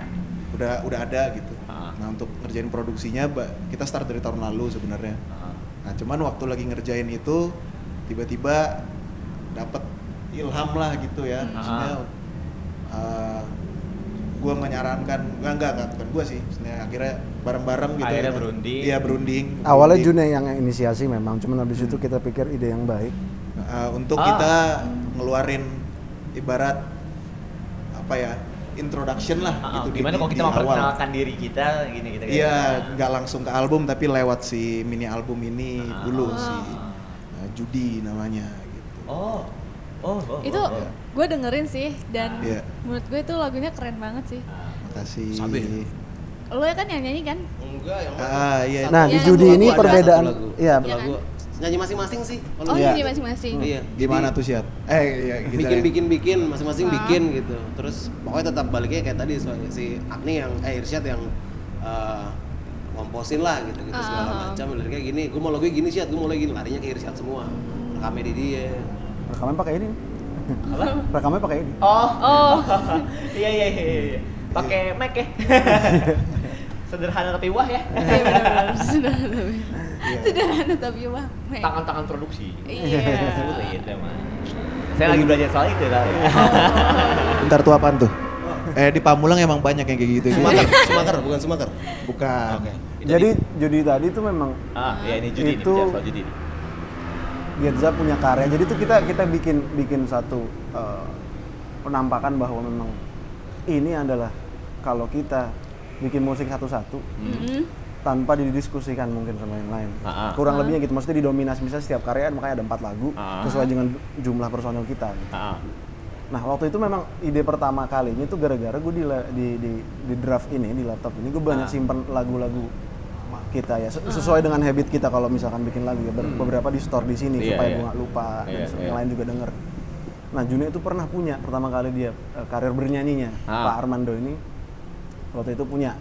Speaker 8: udah udah ada gitu
Speaker 2: Iya. Ah.
Speaker 8: nah untuk ngerjain produksinya ba- kita start dari tahun lalu sebenarnya
Speaker 2: Ah.
Speaker 8: nah cuman waktu lagi ngerjain itu tiba-tiba dapat ilham lah gitu ya
Speaker 2: Hmm.
Speaker 8: maksudnya
Speaker 2: Ah.
Speaker 8: eh, gue menyarankan enggak enggak enggak bukan gue sih maksudnya akhirnya bareng-bareng gitu
Speaker 2: Akhirnya berunding.
Speaker 8: iya berunding
Speaker 10: Awalnya
Speaker 8: Berunding.
Speaker 10: June yang inisiasi memang, cuman habis itu kita pikir ide yang baik.
Speaker 8: Uh, untuk
Speaker 2: Ah.
Speaker 8: kita ngeluarin ibarat apa ya introduction lah
Speaker 2: Ah, ah,
Speaker 8: gitu di-
Speaker 2: gimana
Speaker 8: di-
Speaker 2: kalau kita
Speaker 8: di awal.
Speaker 2: memperkenalkan diri kita gini gitu
Speaker 8: iya nggak langsung ke album tapi lewat si
Speaker 2: Ah.
Speaker 8: mini album ini dulu si uh, Judi namanya eh, gitu
Speaker 2: Oh, Oh, oh,
Speaker 3: itu
Speaker 2: oh, oh.
Speaker 3: gue dengerin sih dan
Speaker 8: Iya.
Speaker 3: menurut gue itu lagunya keren banget sih.
Speaker 8: Makasih.
Speaker 3: Lo ya kan yang nyanyi kan?
Speaker 9: Enggak, yang
Speaker 8: Ah, iya.
Speaker 10: Nah, di judi ini perbedaan- iya.
Speaker 9: Iya. Lagu nyanyi masing-masing sih.
Speaker 3: Oh,
Speaker 9: kalau nggak
Speaker 3: nyanyi
Speaker 9: salah.
Speaker 3: masing-masing.
Speaker 9: Iya.
Speaker 8: Gimana tuh Syat? Eh, iya gitu.
Speaker 9: bikin bikin bikin masing-masing bikin gitu terus pokoknya tetap baliknya kayak tadi soalnya si Agni yang eh Irsyad yang eh, ngomposin lah gitu
Speaker 3: Ah,
Speaker 9: gitu segala macam liriknya gini gue mau lagi gini Syad gue mau lagi gini larinya ke Irsyad semua rekamnya di dia
Speaker 10: Rekaman pakai ini. Rekamannya pakai ini.
Speaker 2: Oh.
Speaker 3: Oh.
Speaker 2: Iya iya iya. iya. Pakai mic ya. Sederhana tapi wah ya.
Speaker 3: Iya benar-benar sederhana tapi sederhana tapi wah. Mei.
Speaker 2: Tangan-tangan produksi.
Speaker 3: Iya.
Speaker 2: Gitu, Mas. Iya. Oh. Saya lagi belajar soal itu tadi.
Speaker 8: Ntar tuh apaan tuh? Eh di Pamulang emang banyak yang kayak gitu.
Speaker 9: Sumaker Sumaker bukan Sumaker
Speaker 8: Bukan.
Speaker 10: Jadi judi tadi itu memang
Speaker 2: Ah, ya ini judi nih,
Speaker 10: Itu-
Speaker 2: bicara soal judi nih.
Speaker 10: Getza punya karya. Jadi itu kita kita bikin bikin satu eh, penampakan bahwa memang ini adalah kalau kita bikin musik satu-satu
Speaker 3: Mm-mm.
Speaker 10: tanpa didiskusikan mungkin sama yang lain.
Speaker 2: Ah, ah.
Speaker 10: Kurang lebihnya gitu. Maksudnya didominasi misalnya setiap karya makanya ada empat lagu
Speaker 2: Ah.
Speaker 10: sesuai dengan jumlah personel kita. gitu.
Speaker 2: Ah, ah.
Speaker 10: Nah waktu itu memang ide pertama kalinya itu gara-gara gue di, la- di, di, di draft ini di laptop ini gue
Speaker 2: Ah.
Speaker 10: banyak simpen lagu-lagu kita ya se- sesuai dengan habit kita kalau misalkan bikin lagu ya ber- beberapa di store di
Speaker 2: Hmm.
Speaker 10: sini
Speaker 2: Iya,
Speaker 10: supaya
Speaker 2: iya.
Speaker 10: gue nggak lupa
Speaker 2: Iya,
Speaker 10: dan
Speaker 2: iya.
Speaker 10: yang lain juga denger. Nah Juni itu pernah punya pertama kali dia eh, karir bernyanyinya
Speaker 2: Ah.
Speaker 10: Pak Armando ini waktu itu punya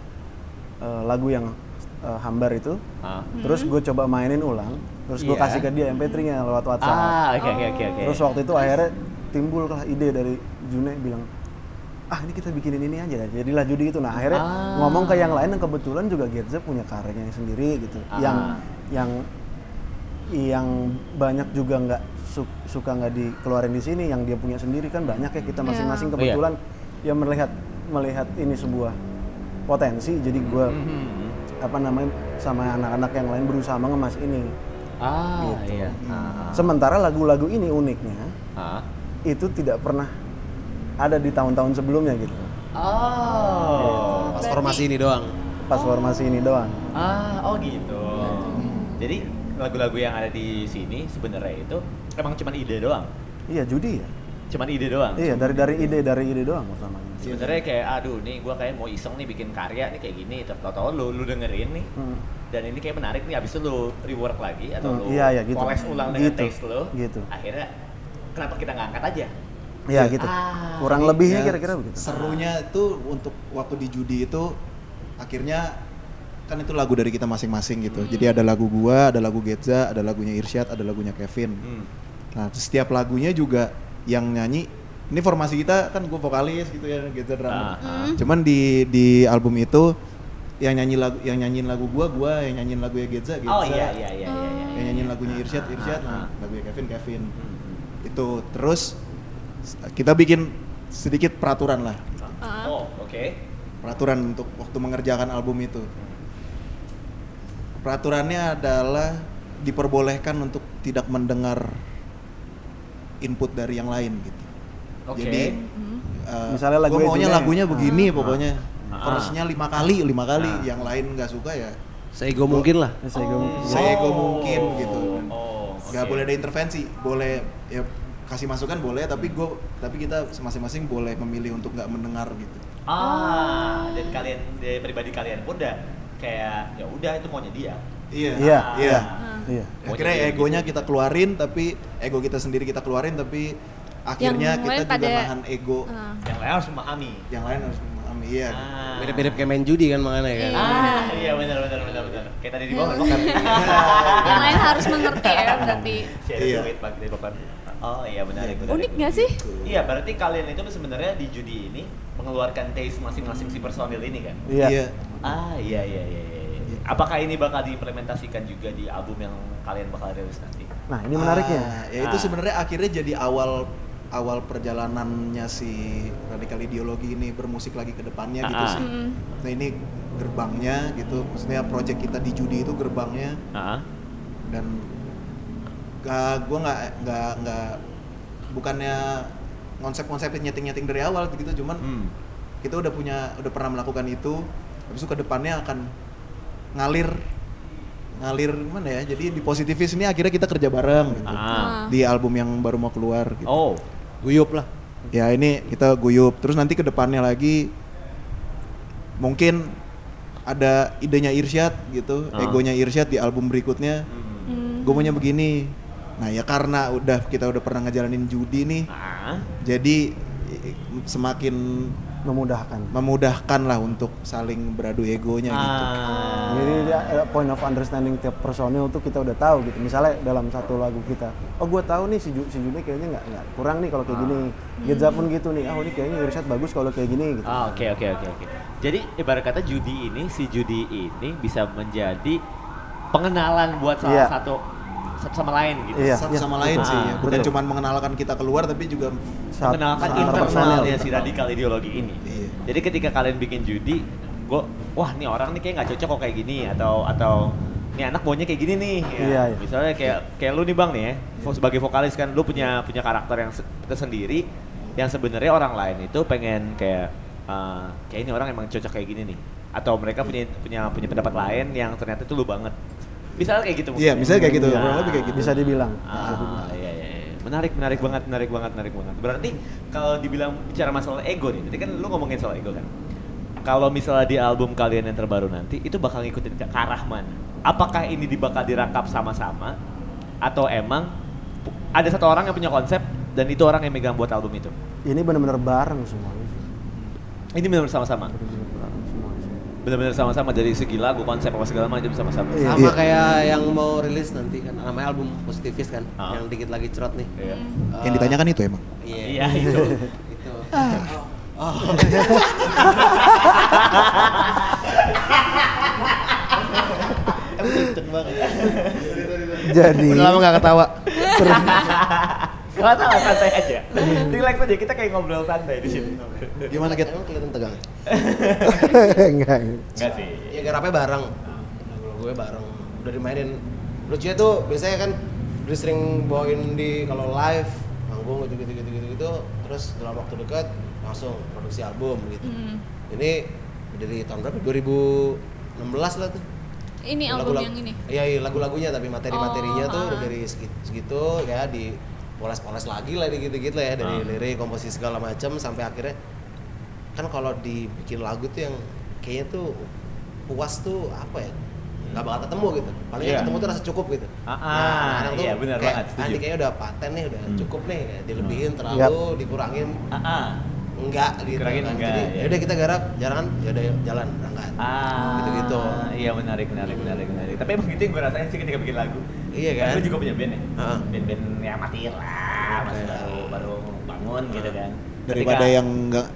Speaker 10: eh, lagu yang eh, hambar itu
Speaker 2: Ah.
Speaker 10: terus gue coba mainin ulang terus gue
Speaker 2: Iya.
Speaker 10: kasih ke dia MP3-nya lewat WhatsApp.
Speaker 2: Ah, oke oke oke oke.
Speaker 10: Terus waktu itu akhirnya timbul lah ide dari June bilang, ah ini kita bikinin ini aja, jadilah judi itu. Nah akhirnya
Speaker 2: Ah.
Speaker 10: ngomong ke yang lain yang kebetulan juga Gerza punya karyanya sendiri gitu,
Speaker 2: Ah.
Speaker 10: yang yang yang banyak juga nggak su- suka nggak dikeluarin di sini, yang dia punya sendiri kan banyak ya kita masing-masing
Speaker 2: Iya.
Speaker 10: kebetulan yang melihat melihat ini sebuah potensi, jadi gue
Speaker 2: Mm-hmm.
Speaker 10: apa namanya sama anak-anak yang lain berusaha mengemas ini.
Speaker 2: Ah, iya. Ah,
Speaker 10: Sementara lagu-lagu ini uniknya
Speaker 2: ah.
Speaker 10: itu tidak pernah ada di tahun-tahun sebelumnya gitu
Speaker 2: Oh.
Speaker 9: pas formasi ini doang
Speaker 10: pas
Speaker 8: Oh.
Speaker 10: formasi ini doang
Speaker 2: Ah, oh gitu. Jadi lagu-lagu yang ada di sini sebenarnya itu emang cuman ide doang.
Speaker 10: iya judi ya
Speaker 2: Cuman ide doang.
Speaker 10: iya dari dari ide dari ide doang utamanya
Speaker 2: Sebenarnya kayak aduh nih gua kayak mau iseng nih bikin karya nih kayak gini terus tau lu lu dengerin nih.
Speaker 10: Hmm.
Speaker 2: Dan ini kayak menarik nih abis itu lu rework lagi atau
Speaker 10: Hmm,
Speaker 2: lu
Speaker 10: iya, iya, gitu.
Speaker 2: poles ulang dengan
Speaker 10: Gitu,
Speaker 2: taste lu.
Speaker 10: gitu.
Speaker 2: Akhirnya kenapa kita nggak angkat aja?
Speaker 10: iya gitu
Speaker 2: Ah,
Speaker 10: kurang
Speaker 8: Ya,
Speaker 10: lebihnya kira-kira begitu
Speaker 8: Serunya itu untuk waktu di judi itu akhirnya kan itu lagu dari kita masing-masing gitu.
Speaker 10: Hmm.
Speaker 8: Jadi ada lagu gua, ada lagu Getza, ada lagunya Irsyad, ada lagunya Kevin.
Speaker 2: Hmm.
Speaker 8: Nah, terus setiap lagunya juga yang nyanyi ini formasi kita kan gue vokalis gitu ya, Getza
Speaker 2: Ah,
Speaker 8: drama. Cuman di di album itu yang nyanyi lagu yang nyanyiin lagu gua, gua yang nyanyiin lagunya Getza,
Speaker 10: Gitu.
Speaker 8: Getza.
Speaker 2: Oh iya Ah, iya iya iya iya.
Speaker 8: Yang nyanyiin lagunya Irsyad, Irsyad, nah, lagunya Kevin, Kevin.
Speaker 2: Hmm,
Speaker 8: Itu terus s- kita bikin sedikit peraturan lah.
Speaker 2: Oh, oke.
Speaker 8: Peraturan untuk waktu mengerjakan album itu. Peraturannya adalah diperbolehkan untuk tidak mendengar input dari yang lain gitu.
Speaker 2: Oke.
Speaker 8: Jadi
Speaker 10: Misalnya
Speaker 8: gue
Speaker 10: lagunya
Speaker 8: maunya
Speaker 10: Juna.
Speaker 8: lagunya begini pokoknya.
Speaker 2: Ah.
Speaker 8: Chorusnya lima kali, lima kali. Yang lain nggak suka ya.
Speaker 9: seego mungkin lah
Speaker 10: Ya, saya gua-
Speaker 8: Saya ego mungkin gitu.
Speaker 2: Oh,
Speaker 8: nggak
Speaker 2: oke.
Speaker 8: boleh ada intervensi boleh ya kasih masukan boleh tapi gue tapi kita masing-masing boleh memilih untuk nggak mendengar gitu
Speaker 2: Ah, dan kalian dari pribadi kalian pun udah kayak ya udah itu maunya dia. Ah.
Speaker 8: iya
Speaker 10: iya
Speaker 8: iya
Speaker 10: iya
Speaker 8: akhirnya
Speaker 2: gitu.
Speaker 8: egonya kita keluarin tapi ego kita sendiri kita keluarin tapi akhirnya
Speaker 7: Yang
Speaker 8: kita
Speaker 7: lain
Speaker 8: juga
Speaker 7: pada-
Speaker 8: nahan ego
Speaker 7: Ah.
Speaker 2: Yang lain harus memahami.
Speaker 8: yang lain harus memahami iya
Speaker 2: Ah.
Speaker 9: mirip-mirip kayak main judi kan makanya kan
Speaker 2: Ah, iya benar benar benar benar. Kayak tadi di bawah kan.
Speaker 7: Yang lain harus mengerti ya berarti.
Speaker 2: Si ada
Speaker 8: Iya.
Speaker 2: duit bagi dari Bokan. Oh iya menarik menarik.
Speaker 3: Unik gak sih?
Speaker 8: Gitu.
Speaker 2: Iya, berarti kalian itu sebenarnya di judi ini mengeluarkan taste masing-masing si personil ini kan?
Speaker 10: iya
Speaker 8: iya
Speaker 2: Ah, iya iya iya iya. Apakah ini bakal diimplementasikan juga di album yang kalian bakal rilis nanti?
Speaker 10: nah ini menariknya
Speaker 8: Ah, ya itu
Speaker 2: Ah.
Speaker 8: sebenarnya akhirnya jadi awal awal perjalanannya si radikal ideologi ini bermusik lagi ke depannya gitu
Speaker 2: Ah.
Speaker 8: sih. Nah ini gerbangnya gitu, maksudnya project kita di judi itu gerbangnya
Speaker 2: Heeh.
Speaker 8: dan gak gue nggak nggak nggak bukannya konsep-konsepnya nyeting-nyeting dari awal gitu
Speaker 2: Hmm.
Speaker 8: cuman kita udah punya udah pernah melakukan itu habis itu ke depannya akan ngalir ngalir mana ya jadi di positivis ini akhirnya kita kerja bareng gitu.
Speaker 2: Ah.
Speaker 8: di album yang baru mau keluar gitu.
Speaker 2: Oh.
Speaker 8: guyup lah ya ini kita guyup terus nanti kedepannya lagi mungkin ada idenya Irsyad gitu
Speaker 2: Ah. Hmm.
Speaker 8: egonya Irsyad di album berikutnya gue maunya begini nah ya karena udah kita udah pernah ngejalanin judi nih
Speaker 2: Ah.
Speaker 8: jadi i- i- semakin
Speaker 10: memudahkan
Speaker 8: memudahkan lah untuk saling beradu egonya
Speaker 2: Ah,
Speaker 8: gitu
Speaker 10: Jadi dia, eh, point of understanding tiap personil tuh kita udah tahu gitu. Misalnya dalam satu lagu kita, oh gue tahu nih si, Ju, si Juni kayaknya nggak nggak kurang nih kalau kayak gini.
Speaker 8: Ah.
Speaker 10: Geza pun gitu nih, ah oh, ini kayaknya Irsyad bagus kalau kayak gini gitu.
Speaker 2: Ah, oke oke oke oke. Jadi ibarat kata judi ini si judi ini bisa menjadi pengenalan buat salah
Speaker 10: Iya.
Speaker 2: satu satu sama lain gitu.
Speaker 10: Iya,
Speaker 8: satu sama lain sih ya. bukan
Speaker 10: betul.
Speaker 8: cuma mengenalkan kita keluar tapi juga
Speaker 2: mengenalkan
Speaker 8: Satu
Speaker 2: internalnya
Speaker 8: personel.
Speaker 2: si radikal ideologi ini.
Speaker 10: Iya.
Speaker 2: Jadi ketika kalian bikin judi, gue wah nih orang nih kayak nggak cocok kok kayak gini atau atau nih anak maunya kayak gini nih. ya.
Speaker 10: Iya, iya.
Speaker 2: Misalnya kayak kayak lu nih bang nih ya, vo- sebagai vokalis kan lu punya punya karakter yang se- tersendiri yang sebenarnya orang lain itu pengen kayak ah, kayak ini orang emang cocok kayak gini nih atau
Speaker 10: Iya.
Speaker 2: mereka punya punya punya pendapat lain yang ternyata itu lu banget. Misalnya kayak gitu.
Speaker 8: Iya,
Speaker 2: mungkin.
Speaker 8: misalnya kayak gitu,
Speaker 2: Nah.
Speaker 8: kurang lebih kayak gitu.
Speaker 10: Bisa dibilang.
Speaker 2: Ah, iya, iya. iya. Menarik, menarik banget, menarik banget, menarik banget. Berarti kalau dibilang bicara masalah ego nih, tadi kan lu ngomongin soal ego kan. Kalau misalnya di album kalian yang terbaru nanti, itu bakal ngikutin ke ke arah mana? Apakah ini di- bakal dirangkap sama-sama? Atau emang pu- ada satu orang yang punya konsep dan itu orang yang megang buat album itu?
Speaker 10: Ini benar-benar bareng semuanya. sih.
Speaker 2: Ini benar-benar sama-sama? Benar-benar sama-sama dari segi lagu, konsep apa segala macam sama-sama?
Speaker 10: Iya.
Speaker 9: sama kayak yang mau rilis nanti kan namanya album positivis kan yang dikit lagi cerot nih Eh,
Speaker 10: Ah.
Speaker 8: yang ditanyakan itu emang
Speaker 2: Iya,
Speaker 9: iya
Speaker 2: itu.
Speaker 9: itu
Speaker 10: Jadi
Speaker 9: Udah lama gak ketawa
Speaker 2: Gak tau, santai aja. Relax aja, kita kayak ngobrol santai di sini.
Speaker 8: gimana kita
Speaker 9: emang kelihatan tegang
Speaker 2: Iya.
Speaker 10: enggak.
Speaker 2: Enggak sih.
Speaker 9: ya garapnya bareng Lagu gue bareng udah dimainin lucunya tuh biasanya kan udah sering bawain di kalau live manggung gitu gitu gitu gitu gitu terus dalam waktu dekat langsung produksi album gitu
Speaker 2: Hmm.
Speaker 9: ini dari tahun berapa 2016 lah tuh
Speaker 3: Ini album
Speaker 9: Lagu-lagu-
Speaker 3: yang ini.
Speaker 9: iya iya, lagu-lagunya tapi materi-materinya
Speaker 3: Oh,
Speaker 9: tuh
Speaker 3: ah.
Speaker 9: udah dari segi- segitu ya di poles-poles lagi lah di gitu-gitu lah ya dari
Speaker 2: Ah.
Speaker 9: lirik komposisi segala macam sampai akhirnya kan kalau dibikin lagu tuh yang kayaknya tuh puas tuh apa ya nggak bakal ketemu gitu paling
Speaker 2: Iya.
Speaker 9: ketemu tuh rasa cukup gitu
Speaker 2: Ah, ah,
Speaker 9: anak-anak
Speaker 2: iya, benar
Speaker 9: kayak,
Speaker 2: banget, setuju. Hmm.
Speaker 9: "Ah, ini kayaknya udah paten nih udah cukup nih kayak dilebihin terlalu dikurangin
Speaker 2: Ah,
Speaker 9: enggak gitu
Speaker 2: Dikurangin
Speaker 9: kan.
Speaker 2: enggak,
Speaker 9: jadi
Speaker 2: iya.
Speaker 9: yaudah kita garap jalan yaudah yuk, jalan berangkat
Speaker 2: Ah,
Speaker 9: gitu-gitu
Speaker 2: Iya menarik, menarik, menarik, menarik. Tapi emang gitu yang gue rasain sih ketika bikin lagu.
Speaker 9: Iya kan?
Speaker 2: Gue juga punya band ya.
Speaker 9: Heeh.
Speaker 2: Band-band yang amatir lah, masih baru baru bangun gitu kan.
Speaker 8: daripada
Speaker 2: Ketika-
Speaker 8: yang nggak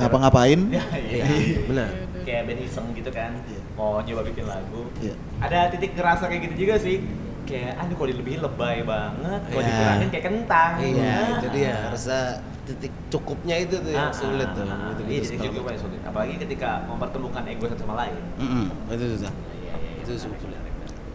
Speaker 8: ngapa-ngapain
Speaker 2: Iya, iya.
Speaker 9: Iya, benar Iya.
Speaker 2: Kayak band iseng gitu kan, mau nyoba bikin lagu.
Speaker 8: Iya.
Speaker 2: Ada titik ngerasa kayak gitu juga sih. Kayak, aduh kalau dilebihin lebay banget, kalau
Speaker 9: Iya.
Speaker 2: dikurangin kayak kentang.
Speaker 9: Iya,
Speaker 2: Nah.
Speaker 9: itu dia. Harusnya titik cukupnya itu tuh
Speaker 2: Ah,
Speaker 9: yang sulit tuh. Gitu
Speaker 2: Iya,
Speaker 9: -gitu
Speaker 2: titik cukupnya yang sulit. Apalagi ketika mempertemukan ego satu sama lain.
Speaker 9: Itu susah. Itu sulit.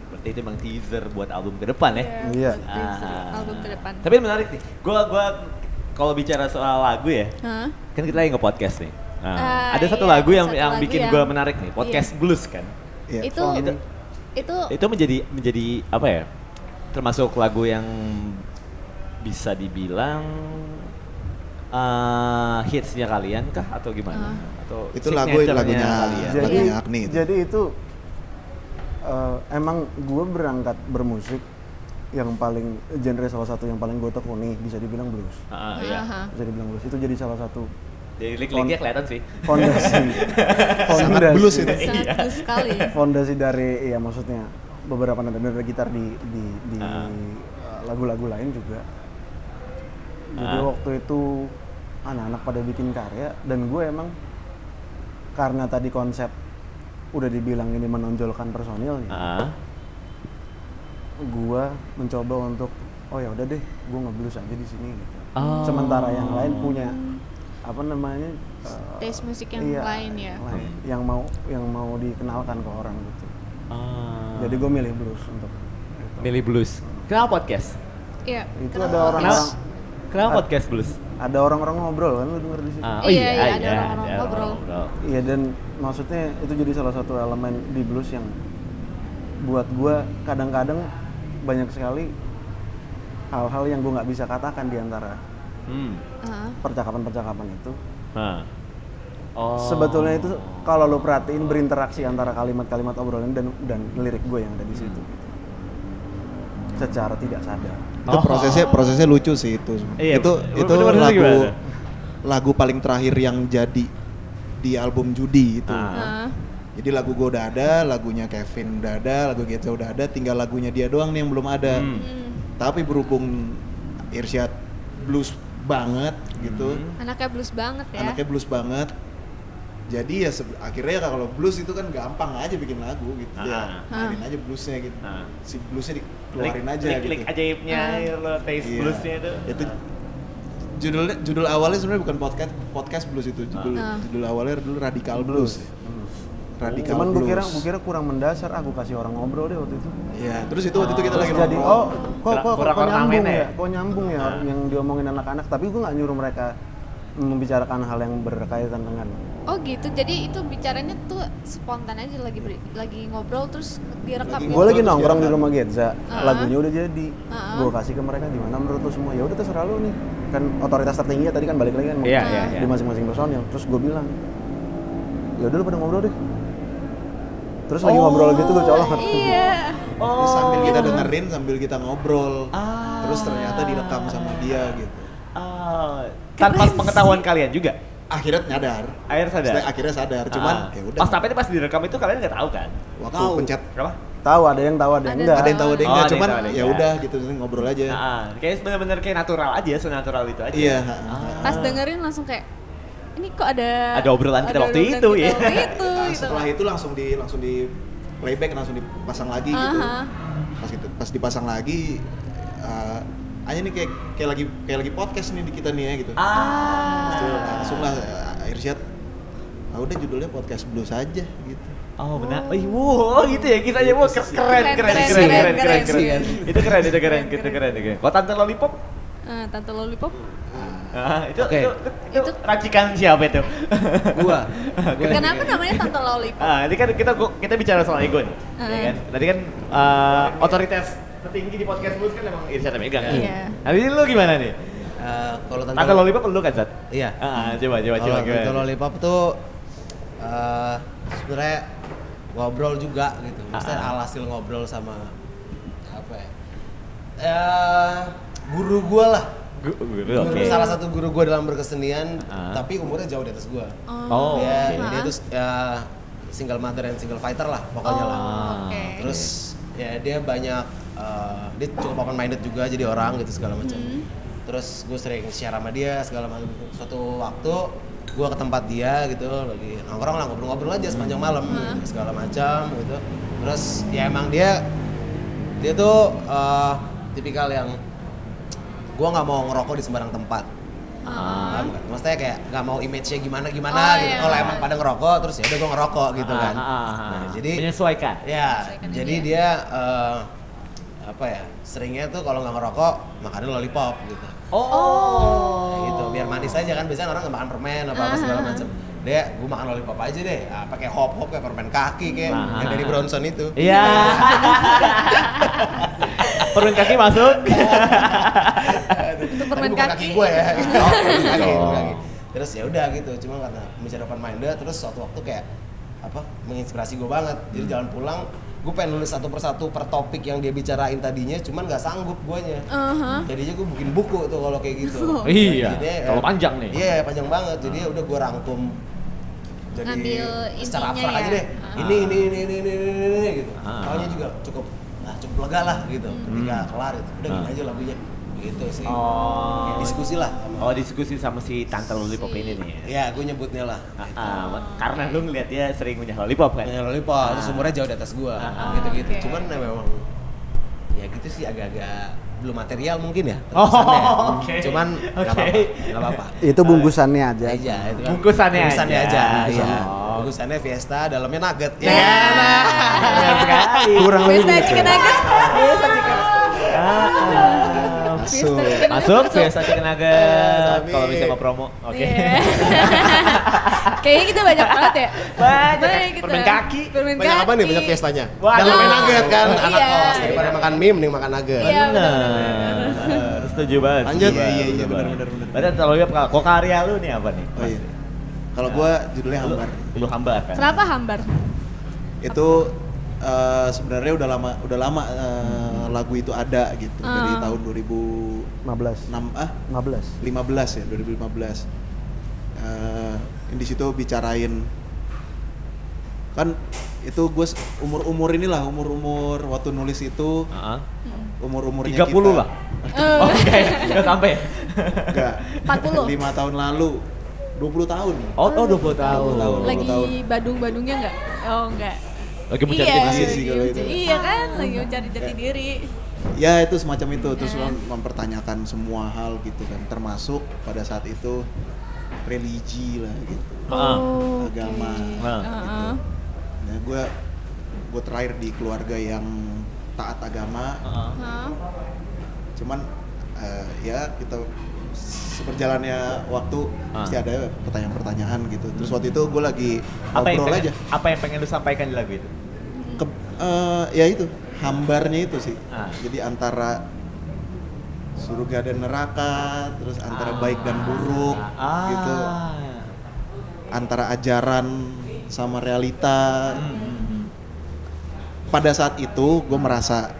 Speaker 2: Berarti itu emang teaser buat album ke depan ya.
Speaker 10: Iya.
Speaker 2: Ah.
Speaker 3: Album ke depan.
Speaker 2: Tapi yang menarik nih. Gua gua kalau bicara soal lagu ya,
Speaker 3: Hah?
Speaker 2: kan kita lagi nge-podcast nih. Nah,
Speaker 7: Ah,
Speaker 2: ada satu
Speaker 7: iya,
Speaker 2: lagu yang
Speaker 7: satu
Speaker 2: yang
Speaker 7: lagu
Speaker 2: bikin
Speaker 7: yang-
Speaker 2: gua menarik nih, podcast blues kan.
Speaker 8: Iya.
Speaker 7: Itu
Speaker 2: Itu-
Speaker 7: itu
Speaker 2: Itu menjadi menjadi apa ya? Termasuk lagu yang bisa dibilang eh hitsnya kalian kah atau gimana? Atau
Speaker 8: Itu lagu-
Speaker 2: signature-nya
Speaker 8: lagunya
Speaker 2: kalian?
Speaker 8: Jadi- Lagunya Agni Ya, itu.
Speaker 10: jadi itu eh, emang gue berangkat bermusik yang paling genre salah satu yang paling gue tekuni bisa dibilang blues.
Speaker 2: Ah, iya.
Speaker 3: Aha.
Speaker 10: Bisa dibilang blues itu jadi salah satu
Speaker 2: Jadi link-linknya kelihatan sih.
Speaker 10: fondasi.
Speaker 8: sangat
Speaker 10: Fondasi.
Speaker 8: blues itu
Speaker 3: Sangat bagus sekali.
Speaker 10: fondasi dari ya maksudnya beberapa nada-nada gitar di di di uh, lagu-lagu lain juga. Jadi waktu itu anak-anak pada bikin karya dan gue emang karena tadi konsep udah dibilang ini menonjolkan personilnya,
Speaker 2: Ah.
Speaker 10: gue mencoba untuk oh ya udah deh, gue ngeblues aja di sini gitu. Sementara yang lain punya apa namanya uh,
Speaker 3: Taste musik yang
Speaker 10: iya,
Speaker 3: lain ya.
Speaker 10: yang lain. yang mau yang mau dikenalkan ke orang gitu.
Speaker 2: Ah.
Speaker 10: Jadi gue milih blues untuk
Speaker 2: Milih blues. Kenapa podcast?
Speaker 7: iya
Speaker 10: itu
Speaker 7: kenapa
Speaker 10: ada orang-orang
Speaker 2: Kenapa? Kenapa podcast blues?
Speaker 10: ada orang-orang ngobrol kan lu denger di situ.
Speaker 2: Ah,
Speaker 7: Iya, iya, ada orang-orang ngobrol.
Speaker 10: Iya dan maksudnya itu jadi salah satu elemen di blues yang buat gue kadang-kadang banyak sekali hal-hal yang gue nggak bisa katakan di antara
Speaker 2: Hmm.
Speaker 10: percakapan-percakapan itu.
Speaker 2: Nah. Oh.
Speaker 10: Sebetulnya itu kalau lo perhatiin berinteraksi antara kalimat-kalimat obrolan dan dan lirik gue yang ada di situ. gitu. Secara tidak sadar.
Speaker 8: Itu prosesnya prosesnya lucu sih itu.
Speaker 10: Iya,
Speaker 8: itu
Speaker 10: bener-
Speaker 8: itu
Speaker 10: bener- bener
Speaker 8: lagu
Speaker 10: gimana?
Speaker 8: lagu paling terakhir yang jadi di album Judi itu.
Speaker 7: Ah. Ah.
Speaker 8: Jadi lagu gue udah ada, lagunya Kevin udah ada, lagu Geza udah ada, tinggal lagunya dia doang nih yang belum ada.
Speaker 3: Hmm.
Speaker 7: Hmm.
Speaker 8: Tapi berhubung Irsyad blues banget gitu,
Speaker 2: Hmm.
Speaker 7: Anaknya blues banget ya.
Speaker 8: anaknya blues banget. Jadi ya sebe- akhirnya kalau blues itu kan gampang aja bikin lagu gitu
Speaker 2: Ah.
Speaker 8: ya, mainin aja bluesnya gitu. Si bluesnya dikeluarin
Speaker 2: Lik-
Speaker 8: aja
Speaker 2: lik-
Speaker 8: gitu. Iya.
Speaker 2: lik ajaibnya, ya lo, taste bluesnya itu. Ah.
Speaker 8: judulnya judul awalnya sebenarnya bukan podcast podcast blues itu judul
Speaker 10: Ah.
Speaker 8: judul awalnya dulu radikal blues. ya.
Speaker 2: Hmm.
Speaker 8: Radikal
Speaker 10: Cuman gue
Speaker 8: blues.
Speaker 10: kira gue kira kurang mendasar. Aku kasih orang ngobrol deh waktu itu.
Speaker 8: Iya, terus itu waktu itu kita lagi
Speaker 10: jadi
Speaker 8: ngobrol.
Speaker 10: oh kok kok kok,
Speaker 8: Kurang
Speaker 10: kok
Speaker 8: ornamen
Speaker 10: nyambung
Speaker 8: ya?
Speaker 10: ya? Kok nyambung ya
Speaker 8: Nah.
Speaker 10: yang diomongin anak-anak. Tapi gue nggak nyuruh mereka membicarakan hal yang berkaitan dengan
Speaker 3: Iya,
Speaker 7: Oh gitu. Jadi itu bicaranya tuh spontan aja lagi beri- lagi ngobrol terus direkam. gitu.
Speaker 10: gue lagi nongkrong di rumah Genza,
Speaker 7: Ah.
Speaker 10: lagunya udah jadi,
Speaker 7: Ah.
Speaker 10: gue kasih ke mereka gimana menurut lo semua, ya udah terserah lo nih, kan otoritas tertinggi tadi kan balik lagi kan
Speaker 2: Iya, iya, iya.
Speaker 10: di masing-masing personil, terus gue bilang, ya udah lo pada ngobrol deh, terus lagi ngobrol gitu gue colok,
Speaker 7: Iya.
Speaker 8: Jadi
Speaker 2: Oh.
Speaker 8: sambil kita dengerin sambil kita ngobrol.
Speaker 2: Ah.
Speaker 8: Terus ternyata direkam sama dia gitu.
Speaker 2: tanpa pengetahuan kalian juga.
Speaker 8: Akhirnya nyadar.
Speaker 2: Akhirnya sadar. Ah.
Speaker 8: Maksudnya akhirnya sadar, cuman ya udah.
Speaker 2: Pas tapi pas direkam itu kalian nggak tahu kan?
Speaker 8: Waktu pencet
Speaker 2: apa?
Speaker 10: tahu ada yang tahu ada yang enggak,
Speaker 8: Ada yang tahu
Speaker 2: Oh,
Speaker 8: ada yang enggak,
Speaker 2: ada yang
Speaker 8: cuman
Speaker 2: tahu ada yang
Speaker 8: ya
Speaker 2: enggak.
Speaker 8: udah gitu ngobrol aja.
Speaker 2: Nah, kayak bener-bener kayak natural aja, senatural itu aja.
Speaker 8: Iya, ha,
Speaker 2: Ah.
Speaker 7: Pas dengerin langsung kayak ini kok ada
Speaker 2: Ada obrolan kita waktu
Speaker 7: obrolan
Speaker 2: itu,
Speaker 7: kita
Speaker 2: ya.
Speaker 7: waktu itu,
Speaker 8: Nah,
Speaker 7: gitu.
Speaker 8: setelah itu langsung di langsung di playback langsung dipasang lagi gitu.
Speaker 7: Aha.
Speaker 8: Pas gitu, pas dipasang lagi eh hanya nih kayak kayak lagi kayak lagi podcast nih di kita nih ya
Speaker 2: Ah.
Speaker 8: gitu. Terus dia langsung lah eh, Irsyad ah udah judulnya podcast blues aja gitu.
Speaker 2: Oh benar. Oh, wow, gitu ya kisahnya. Wow,
Speaker 9: Iya,
Speaker 2: keren, keren, keren,
Speaker 7: Keren,
Speaker 2: keren,
Speaker 7: keren,
Speaker 2: keren, keren,
Speaker 7: keren,
Speaker 2: keren. Itu keren, itu keren, itu keren, itu keren. Kalau Tante Lollipop?
Speaker 7: Eh, Tante Lollipop
Speaker 2: Ah, itu,
Speaker 7: Oke.
Speaker 2: itu, itu, racikan siapa itu?
Speaker 9: Gua.
Speaker 2: Iya,
Speaker 7: Kenapa namanya Tante Lollipop?
Speaker 2: Ah, ini kan kita gua- kita bicara soal ego nih.
Speaker 7: Ah.
Speaker 2: Ya kan? Tadi kan eh, otoritas tertinggi di podcast Blues kan emang Irsyad yang megang. kan?
Speaker 7: Iya.
Speaker 2: Nah, ini lu gimana nih?
Speaker 9: Eh, kalau Tante-
Speaker 2: Tante Lollipop lu kan, Zat?
Speaker 9: Iya.
Speaker 2: Ah, ah, coba coba coba.
Speaker 9: Kalau
Speaker 2: gimana?
Speaker 9: Tante Lollipop tuh eh sebenarnya ngobrol juga gitu. Maksudnya
Speaker 2: Ah.
Speaker 9: alhasil ngobrol sama apa ya? Eh, guru gua lah.
Speaker 2: Gu- guru,
Speaker 9: Guru-
Speaker 2: oke.
Speaker 9: Salah satu guru gua dalam berkesenian,
Speaker 2: Ah.
Speaker 9: tapi umurnya jauh di atas gua.
Speaker 2: Oh. Oh,
Speaker 9: Dia,
Speaker 2: oke.
Speaker 9: dia tuh eh, single mother and single fighter lah
Speaker 2: Oh.
Speaker 9: pokoknya oh, iya lah.
Speaker 2: oke.
Speaker 9: Terus ya dia banyak eh, dia cukup open minded juga jadi orang gitu segala macam
Speaker 2: Hmm.
Speaker 9: terus gue sering share sama dia segala macam gitu. suatu waktu gue ke tempat dia gitu lagi nongkrong lah ngobrol-ngobrol aja sepanjang
Speaker 2: Hmm.
Speaker 9: malam gitu, segala macam gitu terus ya emang dia dia tuh eh, tipikal yang gue nggak mau ngerokok di sembarang tempat Paham nggak? Maksudnya kayak nggak mau image-nya gimana gimana
Speaker 2: Oh,
Speaker 9: gitu.
Speaker 2: iya.
Speaker 9: Kalau emang pada ngerokok terus ya udah gue ngerokok gitu
Speaker 2: Ah,
Speaker 9: kan.
Speaker 2: ah, ah, ah.
Speaker 9: Nah, jadi
Speaker 2: menyesuaikan.
Speaker 9: Ya, jadi dia eh, apa ya? Seringnya tuh kalau nggak ngerokok makannya lollipop gitu.
Speaker 2: Oh.
Speaker 9: Gitu biar manis aja kan biasanya orang nggak makan permen apa apa segala macam. Dia, gue makan lollipop aja deh. Ah, pakai hop hop kayak permen kaki kayak
Speaker 2: Ah,
Speaker 9: yang
Speaker 2: ah,
Speaker 9: dari
Speaker 2: ah.
Speaker 9: Bronson itu.
Speaker 2: Iya. Permen kaki masuk.
Speaker 9: Itu
Speaker 7: permen
Speaker 9: kaki
Speaker 7: kaki.
Speaker 9: gue ya.
Speaker 7: Oh,
Speaker 9: Permen kaki,
Speaker 2: gitu.
Speaker 9: permen kaki. Terus ya udah gitu, cuma karena bicara open minded terus suatu waktu kayak apa menginspirasi gue banget. Jadi jalan pulang gue pengen nulis satu persatu per topik yang dia bicarain tadinya, cuman nggak sanggup guanya.
Speaker 3: Oh. Uh-huh.
Speaker 7: Aha.
Speaker 9: Jadinya gue bikin buku tuh kalau kayak gitu.
Speaker 7: Oh.
Speaker 2: Iya,
Speaker 9: Jadinya, eh,
Speaker 2: kalau panjang nih.
Speaker 9: Iya, panjang banget. Jadi ya udah gue rangkum jadi
Speaker 7: Ah. Ngambil
Speaker 9: secara
Speaker 7: intinya
Speaker 9: abstrak
Speaker 7: ya.
Speaker 9: aja deh.
Speaker 7: Ah.
Speaker 9: Ini ini ini ini ini ini, ini, ini, gitu.
Speaker 2: Ah.
Speaker 9: Soalnya juga cukup nah, cukup lega lah gitu
Speaker 7: Hmm.
Speaker 9: ketika kelar itu. Udah gini
Speaker 2: Ah.
Speaker 9: aja lagunya. Gitu sih.
Speaker 2: Oh.
Speaker 9: Ya, diskusi lah.
Speaker 2: Oh, diskusi sama si Tante Lollipop ini nih. ya?
Speaker 9: Ya, gue nyebutnya lah.
Speaker 2: Ah, ah, karena lu ngeliat dia sering punya lollipop kan?
Speaker 9: Yang lollipop,
Speaker 7: Ah.
Speaker 9: terus umurnya jauh di atas gua.
Speaker 2: Ah,
Speaker 9: Gitu-gitu.
Speaker 2: oke.
Speaker 9: Cuman ya memang ya gitu sih agak-agag belum material mungkin ya.
Speaker 2: Oh,
Speaker 9: terkesannya.
Speaker 2: oke.
Speaker 9: Cuman nggak
Speaker 2: Oke.
Speaker 9: apa-apa, nggak apa-apa.
Speaker 10: itu bungkusannya aja.
Speaker 9: aja itu kan.
Speaker 2: Bungkusannya
Speaker 9: Bungkusannya
Speaker 2: aja.
Speaker 9: aja, iya.
Speaker 2: Bungkusannya.
Speaker 9: Bungkusannya Fiesta, dalamnya nugget. Ya.
Speaker 2: sekali.
Speaker 10: Kurang lebih
Speaker 7: Biasa
Speaker 10: gitu.
Speaker 7: chicken nugget.
Speaker 3: kan-
Speaker 2: Ah, ah.
Speaker 7: Masuk.
Speaker 3: kan
Speaker 7: Fiesta
Speaker 2: Masuk biasa chicken nugget. Kalau bisa mau promo. Oke.
Speaker 7: Iya.
Speaker 3: Iya. Kayaknya kita banyak banget ya.
Speaker 2: Banyak.
Speaker 3: kita.
Speaker 2: Permen kaki.
Speaker 3: Permen
Speaker 9: Banyak apa nih? Banyak
Speaker 3: kaki.
Speaker 9: fiestanya.
Speaker 2: Wah,
Speaker 9: Dan
Speaker 2: ada-
Speaker 9: main nugget kan,
Speaker 3: Iya,
Speaker 9: anak kos.
Speaker 3: iya.
Speaker 9: Daripada makan mie, mending makan nugget.
Speaker 3: Iya, benar.
Speaker 2: Bener, setuju banget.
Speaker 9: Lanjut.
Speaker 2: setuju banget,
Speaker 9: Iya, iya,
Speaker 2: setuju
Speaker 9: bener,
Speaker 2: banget.
Speaker 9: bener, bener.
Speaker 2: Berarti kalau Yop, kok karya lu nih apa nih?
Speaker 8: Oh iya. Kalau gue judulnya
Speaker 2: Lu,
Speaker 8: hambar.
Speaker 2: Nah. lu hambar kan?
Speaker 7: Kenapa hambar?
Speaker 8: Itu eh, sebenarnya udah lama udah lama eh, lagu itu ada gitu dari tahun 2006
Speaker 10: 15.
Speaker 8: ah
Speaker 10: 15.
Speaker 8: 15 ya 2015 Eh di situ bicarain kan itu gue umur umur inilah umur umur waktu nulis itu
Speaker 2: Heeh.
Speaker 8: umur
Speaker 2: 30
Speaker 8: umurnya kita.
Speaker 2: Ah. lah. Oke, nggak sampai. ya?
Speaker 8: enggak
Speaker 7: 40.
Speaker 8: lima tahun lalu 20 tahun
Speaker 2: Oh, oh 20 tahun.
Speaker 8: 20 tahun.
Speaker 3: Lagi
Speaker 8: tahun.
Speaker 3: Badung-Badungnya enggak? Oh, enggak.
Speaker 2: Lagi mencari
Speaker 3: iya,
Speaker 2: diri
Speaker 8: diri
Speaker 3: lagi
Speaker 8: sih kalau
Speaker 3: mencari-
Speaker 8: itu.
Speaker 3: Iya kan, lagi mencari jati diri.
Speaker 8: ya itu semacam itu terus mem- mempertanyakan semua hal gitu kan termasuk pada saat itu religi lah gitu
Speaker 2: Heeh.
Speaker 3: Oh,
Speaker 8: agama
Speaker 2: Heeh.
Speaker 3: Heeh.
Speaker 8: nah gue gue terakhir di keluarga yang taat agama
Speaker 2: Heeh.
Speaker 3: Heeh.
Speaker 8: cuman eh, ya kita seperjalannya waktu
Speaker 2: Ah.
Speaker 8: pasti ada pertanyaan-pertanyaan gitu terus waktu itu gue lagi
Speaker 2: Apa yang
Speaker 8: ngobrol
Speaker 2: pengen,
Speaker 8: aja
Speaker 2: apa yang pengen lu sampaikan di lagu itu?
Speaker 8: ke eh, ya itu hambarnya itu sih
Speaker 2: Ah.
Speaker 8: jadi antara surga dan neraka terus antara baik dan buruk
Speaker 2: Ah.
Speaker 8: gitu antara ajaran sama realita
Speaker 2: Hmm,
Speaker 8: pada saat itu gue merasa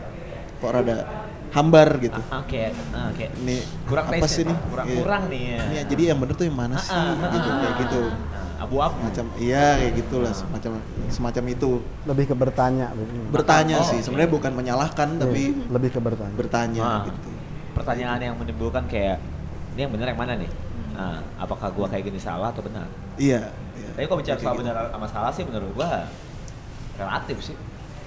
Speaker 8: kok rada hambar gitu
Speaker 2: Ah, Oke, ah, oke.
Speaker 8: ini
Speaker 2: Kurang
Speaker 8: apa
Speaker 2: passion,
Speaker 8: sih nih
Speaker 2: kurang-
Speaker 8: Iya.
Speaker 2: kurang nih, ya.
Speaker 8: Iya, jadi yang bener tuh yang mana sih
Speaker 2: Ah, ah,
Speaker 8: gitu
Speaker 2: ah,
Speaker 8: kayak gitu
Speaker 2: Nah, Abu-abu.
Speaker 8: macam iya kayak gitulah semacam semacam itu
Speaker 10: Lebih ke bertanya.
Speaker 8: bertanya
Speaker 2: Oh,
Speaker 8: sih
Speaker 2: oke.
Speaker 8: sebenarnya bukan menyalahkan tapi
Speaker 10: Iya, lebih ke bertanya.
Speaker 8: bertanya
Speaker 2: Ah.
Speaker 8: gitu
Speaker 2: Pertanyaan yang menimbulkan kayak ini yang benar yang mana nih?
Speaker 8: Hmm.
Speaker 2: Ah, apakah gua kayak gini salah atau benar?
Speaker 8: iya iya.
Speaker 2: Tapi kalau bicara
Speaker 8: Kayak
Speaker 2: soal
Speaker 8: gitu.
Speaker 2: benar sama salah sih menurut gua relatif sih.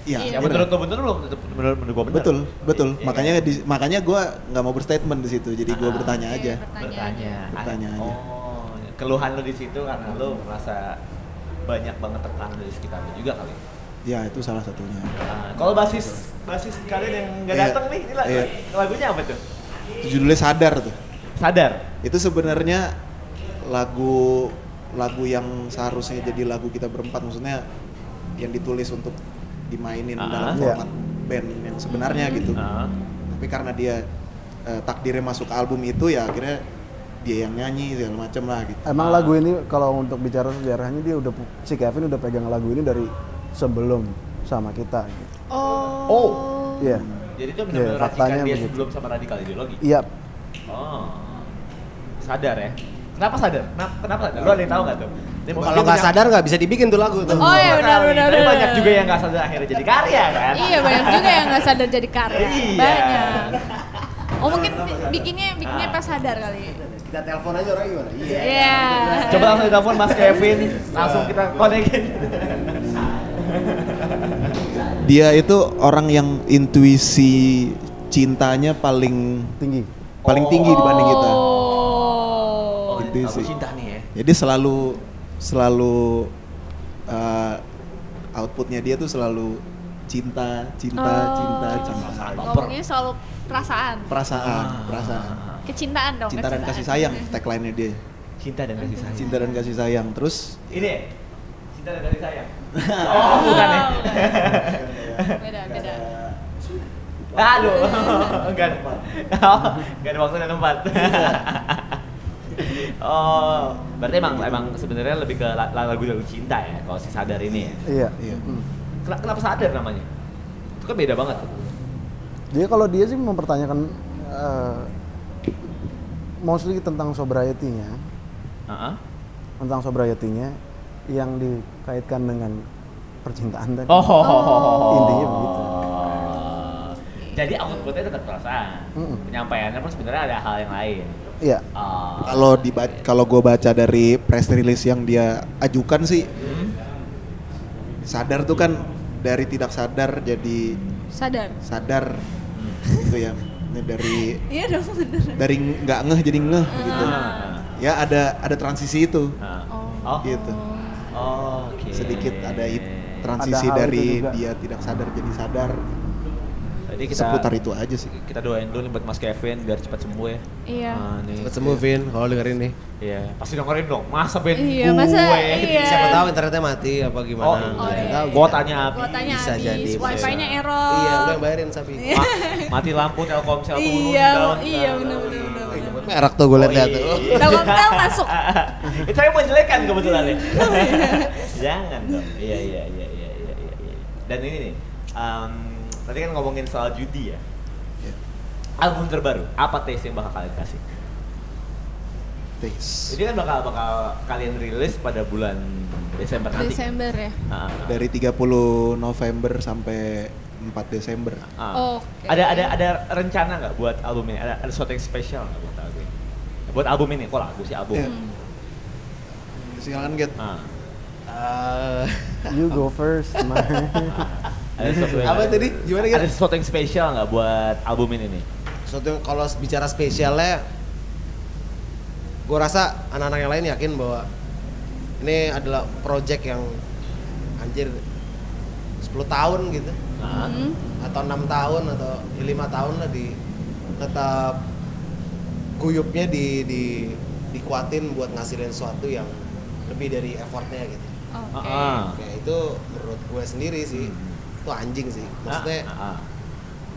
Speaker 8: iya
Speaker 2: Yang
Speaker 8: bener.
Speaker 2: menurut gua benar belum tentu menurut menurut gua benar.
Speaker 8: betul betul
Speaker 2: Iya,
Speaker 8: makanya di- makanya gue nggak mau berstatement di situ jadi gue
Speaker 2: Ah.
Speaker 8: bertanya
Speaker 3: Iya,
Speaker 8: aja
Speaker 2: bertanya
Speaker 8: Bertanya aja.
Speaker 2: oh keluhan lo di situ karena lo merasa banyak banget tekanan dari sekitar lo juga kali
Speaker 8: ya itu salah satunya
Speaker 2: Ah, kalau basis basis kalian yang nggak
Speaker 8: Iya.
Speaker 2: datang nih ini lagu-
Speaker 8: Iya.
Speaker 2: lagunya apa tuh
Speaker 8: itu judulnya sadar tuh
Speaker 2: sadar
Speaker 8: itu sebenarnya lagu lagu yang seharusnya jadi lagu kita berempat maksudnya yang ditulis untuk dimainin
Speaker 2: Ah.
Speaker 8: dalam
Speaker 2: Iya.
Speaker 8: format band yang sebenarnya gitu
Speaker 2: Ah,
Speaker 8: tapi karena dia eh, takdirnya masuk ke album itu ya akhirnya dia yang nyanyi segala macam lah gitu
Speaker 10: Emang lagu ini kalau untuk bicara sejarahnya dia udah si Kevin udah pegang lagu ini dari sebelum sama kita.
Speaker 7: Oh.
Speaker 2: Oh.
Speaker 10: Iya.
Speaker 2: jadi itu benar-benar
Speaker 10: Iya,
Speaker 2: radikal
Speaker 10: faktanya
Speaker 2: dia
Speaker 10: begitu.
Speaker 2: sebelum sama radikal ideologi
Speaker 10: Iya.
Speaker 2: oh sadar ya kenapa sadar kenapa, kenapa sadar lo ada yang tahu nggak tuh Ini mungkin
Speaker 9: Kalau nggak
Speaker 2: banyak-
Speaker 9: sadar nggak bisa dibikin tuh lagu tuh.
Speaker 3: Oh iya
Speaker 2: Tapi
Speaker 3: benar benar. benar.
Speaker 2: banyak juga yang nggak sadar akhirnya jadi karya kan
Speaker 3: Iya banyak juga yang nggak sadar jadi karya.
Speaker 2: Iya.
Speaker 3: Banyak. Oh mungkin bi- bikinnya bikinnya
Speaker 2: Ah.
Speaker 3: pas sadar kali.
Speaker 9: Kita telepon aja orang gimana? Iya.
Speaker 3: Iya.
Speaker 2: Coba langsung telepon Mas Kevin, langsung kita konekin.
Speaker 8: dia itu orang yang intuisi cintanya paling
Speaker 10: Tinggi.
Speaker 8: paling tinggi dibanding kita
Speaker 3: Oh.
Speaker 2: Oh,
Speaker 8: Gitu
Speaker 2: aku
Speaker 8: sih.
Speaker 2: cinta nih ya.
Speaker 8: jadi selalu selalu eh, outputnya dia tuh selalu cinta cinta cinta cinta
Speaker 7: Ngomongnya selalu perasaan,
Speaker 8: perasaan perasaan
Speaker 7: kecintaan dong.
Speaker 8: cinta dan kasih sayang tagline-nya dia
Speaker 2: Cinta dan kasih sayang.
Speaker 8: cinta dan kasih sayang terus
Speaker 2: Ini ya? Cinta dan kasih sayang. Oh, bukan ya.
Speaker 3: Beda beda.
Speaker 2: Iya. Aduh, enggak ada. Oh, enggak ada waktu dan tempat. Oh, berarti emang emang sebenarnya lebih ke la- lagu-lagu cinta ya kalau si sadar ini ya.
Speaker 10: Iya.
Speaker 8: Iya.
Speaker 10: Mm.
Speaker 2: Ken- Kenapa sadar namanya? Itu kan beda banget.
Speaker 10: Dia kalau dia sih mempertanyakan eh, mostly tentang sobriety-nya,
Speaker 2: Heeh.
Speaker 10: tentang sobriety-nya yang dikaitkan dengan percintaan tadi.
Speaker 2: Oh.
Speaker 10: Intinya begitu.
Speaker 2: Jadi outputnya tetap perasaan.
Speaker 10: Mm-mm.
Speaker 2: Penyampaiannya pun sebenarnya ada hal yang lain.
Speaker 10: Iya.
Speaker 2: Oh.
Speaker 8: kalau di kalau gue baca dari press release yang dia ajukan sih sadar tuh kan dari tidak sadar jadi
Speaker 3: Sadar.
Speaker 8: sadar gitu ya Ini dari
Speaker 3: Iya dong bener.
Speaker 8: dari nggak ngeh jadi ngeh gitu
Speaker 2: Ah.
Speaker 8: ya ada ada transisi itu
Speaker 2: Ah. Oh.
Speaker 8: gitu
Speaker 2: Oh, oke.
Speaker 8: sedikit ada i-
Speaker 10: Ada
Speaker 8: transisi
Speaker 10: hal itu
Speaker 8: dari
Speaker 10: juga.
Speaker 8: dia tidak sadar jadi sadar
Speaker 2: Jadi kita
Speaker 8: Seputar itu aja sih.
Speaker 2: Kita doain dulu nih buat Mas Kevin biar cepat sembuh ya.
Speaker 7: Iya.
Speaker 2: Ah, nih.
Speaker 9: Cepet sembuh Vin, kalau dengerin nih.
Speaker 2: Iya, pasti dengerin dong. Masa Ben
Speaker 7: Iya,
Speaker 2: gue.
Speaker 7: masa- iya.
Speaker 9: Siapa tahu internetnya mati apa gimana.
Speaker 2: Oh,
Speaker 9: nggak ada
Speaker 2: iya.
Speaker 9: yang tahu
Speaker 2: Gua
Speaker 9: kita.
Speaker 2: tanya Abi.
Speaker 3: Gua tanya
Speaker 9: Bisa jadi,
Speaker 3: habis,
Speaker 9: bisa.
Speaker 3: wifi-nya error.
Speaker 9: Iya, lu yang bayarin sapi.
Speaker 2: Ma- mati lampu Telkomsel turun
Speaker 3: Iya,
Speaker 2: down.
Speaker 3: iya benar-benar.
Speaker 9: Merek tuh gue lihat tuh.
Speaker 10: Oh, iya,
Speaker 3: Telkomsel masuk.
Speaker 2: Oh, iya. Itu yang mau jelekan kebetulan ya. Jangan dong. Iya iya iya iya iya iya. iya. Dan ini nih, em, tadi kan ngomongin soal judi ya. Album terbaru, apa taste yang bakal kalian kasih?
Speaker 8: Thanks.
Speaker 2: Jadi kan bakal bakal kalian rilis pada bulan Desember nanti.
Speaker 3: Desember ya.
Speaker 2: Ah, ah,
Speaker 8: Dari 30 November sampai 4 Desember.
Speaker 2: ah.
Speaker 3: Oke.
Speaker 2: Ada ada ada rencana nggak buat album ini? Ada, ada sesuatu yang spesial nggak buat album ini? Buat album ini, kok lagu sih album?
Speaker 8: Iya. Silakan get.
Speaker 2: Ah,
Speaker 9: Eh,
Speaker 10: You go first, man.
Speaker 2: ada sesuatu yang-
Speaker 9: Apa tadi? Gimana, Gir?
Speaker 2: Ada sesuatu yang spesial nggak buat album ini nih?
Speaker 9: Suatu yang kalau bicara spesialnya, gue rasa anak-anak yang lain yakin bahwa ini adalah project yang anjir 10 tahun gitu
Speaker 2: Ah,
Speaker 3: Hmm,
Speaker 9: atau enam tahun atau lima tahun lah di tetap guyupnya di di dikuatin buat ngasilin sesuatu yang lebih dari effortnya gitu.
Speaker 2: ah,
Speaker 3: Oke.
Speaker 2: ah.
Speaker 9: Ya itu menurut gue sendiri sih itu anjing sih.
Speaker 2: Ah,
Speaker 9: Maksudnya
Speaker 2: ah, ah.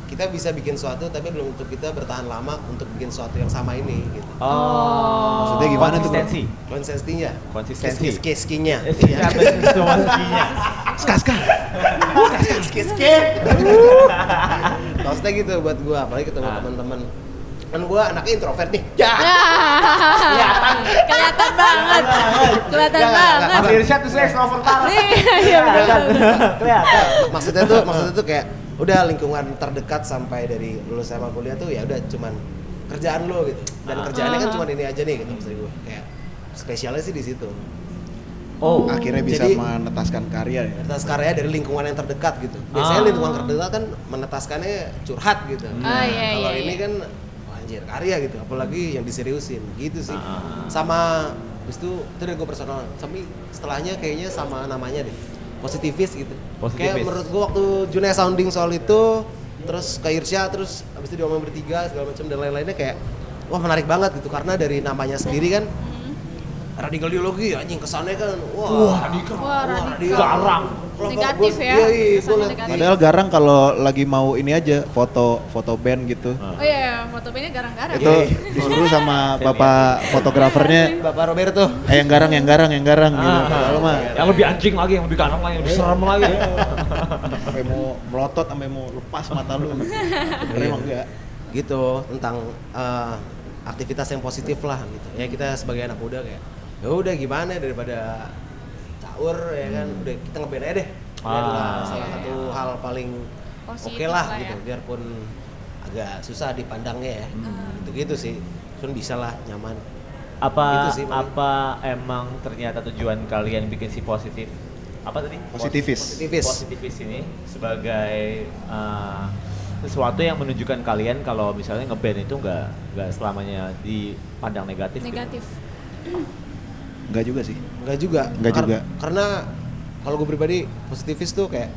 Speaker 9: kita bisa bikin sesuatu tapi belum untuk kita bertahan lama untuk bikin sesuatu yang sama ini gitu.
Speaker 2: Oh.
Speaker 8: Maksudnya gimana tuh, Bro?
Speaker 2: konsistensi?
Speaker 9: Konsistensinya,
Speaker 2: Konsistensi.
Speaker 9: kis-kis-kiskinya.
Speaker 2: Iya. Semua skinya.
Speaker 9: Skis-kis. Maksudnya gitu buat gue, apalagi ketemu
Speaker 2: Ah.
Speaker 9: teman-teman. Kan gue anaknya introvert nih. Ya.
Speaker 3: Kelihatan. Kelihatan banget. Kelihatan
Speaker 9: Nggak, nggak,
Speaker 3: banget.
Speaker 9: nggak.
Speaker 2: Irsyad tuh saya extrovert parah.
Speaker 3: Nih, iya benar.
Speaker 2: Kelihatan.
Speaker 9: maksudnya tuh maksudnya tuh kayak udah lingkungan terdekat sampai dari lulus sama kuliah tuh ya udah cuman kerjaan lo gitu dan kerjaannya kan cuman ini aja nih gitu maksud gue kayak spesialnya sih di situ
Speaker 2: Oh.
Speaker 8: Akhirnya bisa
Speaker 9: Jadi-
Speaker 8: menetaskan karya ya.
Speaker 9: kertas karya dari lingkungan yang terdekat gitu biasanya
Speaker 2: Ah.
Speaker 9: lingkungan terdekat kan menetaskannya curhat gitu
Speaker 3: Ah, iya,
Speaker 9: kalau
Speaker 3: iya,
Speaker 9: ini
Speaker 3: iya.
Speaker 9: kan wah, anjir karya gitu apalagi yang diseriusin gitu sih
Speaker 2: Ah.
Speaker 9: sama habis itu itu dari gue personal tapi setelahnya kayaknya sama namanya deh positivis gitu
Speaker 2: Positivis.
Speaker 9: kayak menurut gue waktu Junia sounding soal itu terus ke Irsya terus habis itu diomongin bertiga segala macam dan lain-lainnya kayak wah menarik banget gitu karena dari namanya sendiri kan radikal ideologi anjing kesannya kan wah, radikal
Speaker 3: Wah, radikal.
Speaker 2: Garang.
Speaker 9: Kalau- kalau
Speaker 3: Negatif
Speaker 9: gua-
Speaker 3: ya,
Speaker 9: iya, iya, gua
Speaker 3: kesannya
Speaker 9: liat-
Speaker 3: negatif.
Speaker 8: Padahal garang kalau lagi mau ini aja foto foto band gitu.
Speaker 3: Oh iya, foto ini garang-garang.
Speaker 8: Itu disuruh sama
Speaker 2: Saya
Speaker 8: bapak fotografernya
Speaker 9: Bapak Roberto
Speaker 8: eh yang garang yang garang yang garang gitu.
Speaker 2: Ah.
Speaker 8: Padahal mah
Speaker 2: Yang lebih anjing lagi, yang lebih garang lagi, yang lebih seram lagi.
Speaker 8: sampai mau melotot sampai mau lepas mata lu.
Speaker 9: Iya.
Speaker 8: Bener emang enggak.
Speaker 9: ya. gitu tentang eh, aktivitas yang positif lah gitu ya kita sebagai anak muda kayak ya udah gimana daripada caur ya kan udah kita ngeband aja deh Band
Speaker 2: Ah.
Speaker 9: lah salah satu hal paling oke
Speaker 3: Positif
Speaker 9: lah
Speaker 3: lah ya.
Speaker 9: gitu biarpun agak susah dipandangnya ya
Speaker 3: Hmm.
Speaker 9: gitu gitu sih cuman bisa lah nyaman
Speaker 2: apa
Speaker 9: Itu sih, paling.
Speaker 2: apa emang ternyata tujuan kalian bikin si positif apa tadi
Speaker 8: Positivis.
Speaker 9: Aktivis.
Speaker 2: positivis ini sebagai uh, sesuatu yang menunjukkan kalian kalau misalnya ngeband itu nggak nggak selamanya dipandang negatif gitu.
Speaker 3: Negatif.
Speaker 8: Enggak juga sih.
Speaker 9: Enggak juga.
Speaker 8: Nggak juga.
Speaker 9: Karena kalau gue pribadi positivis tuh kayak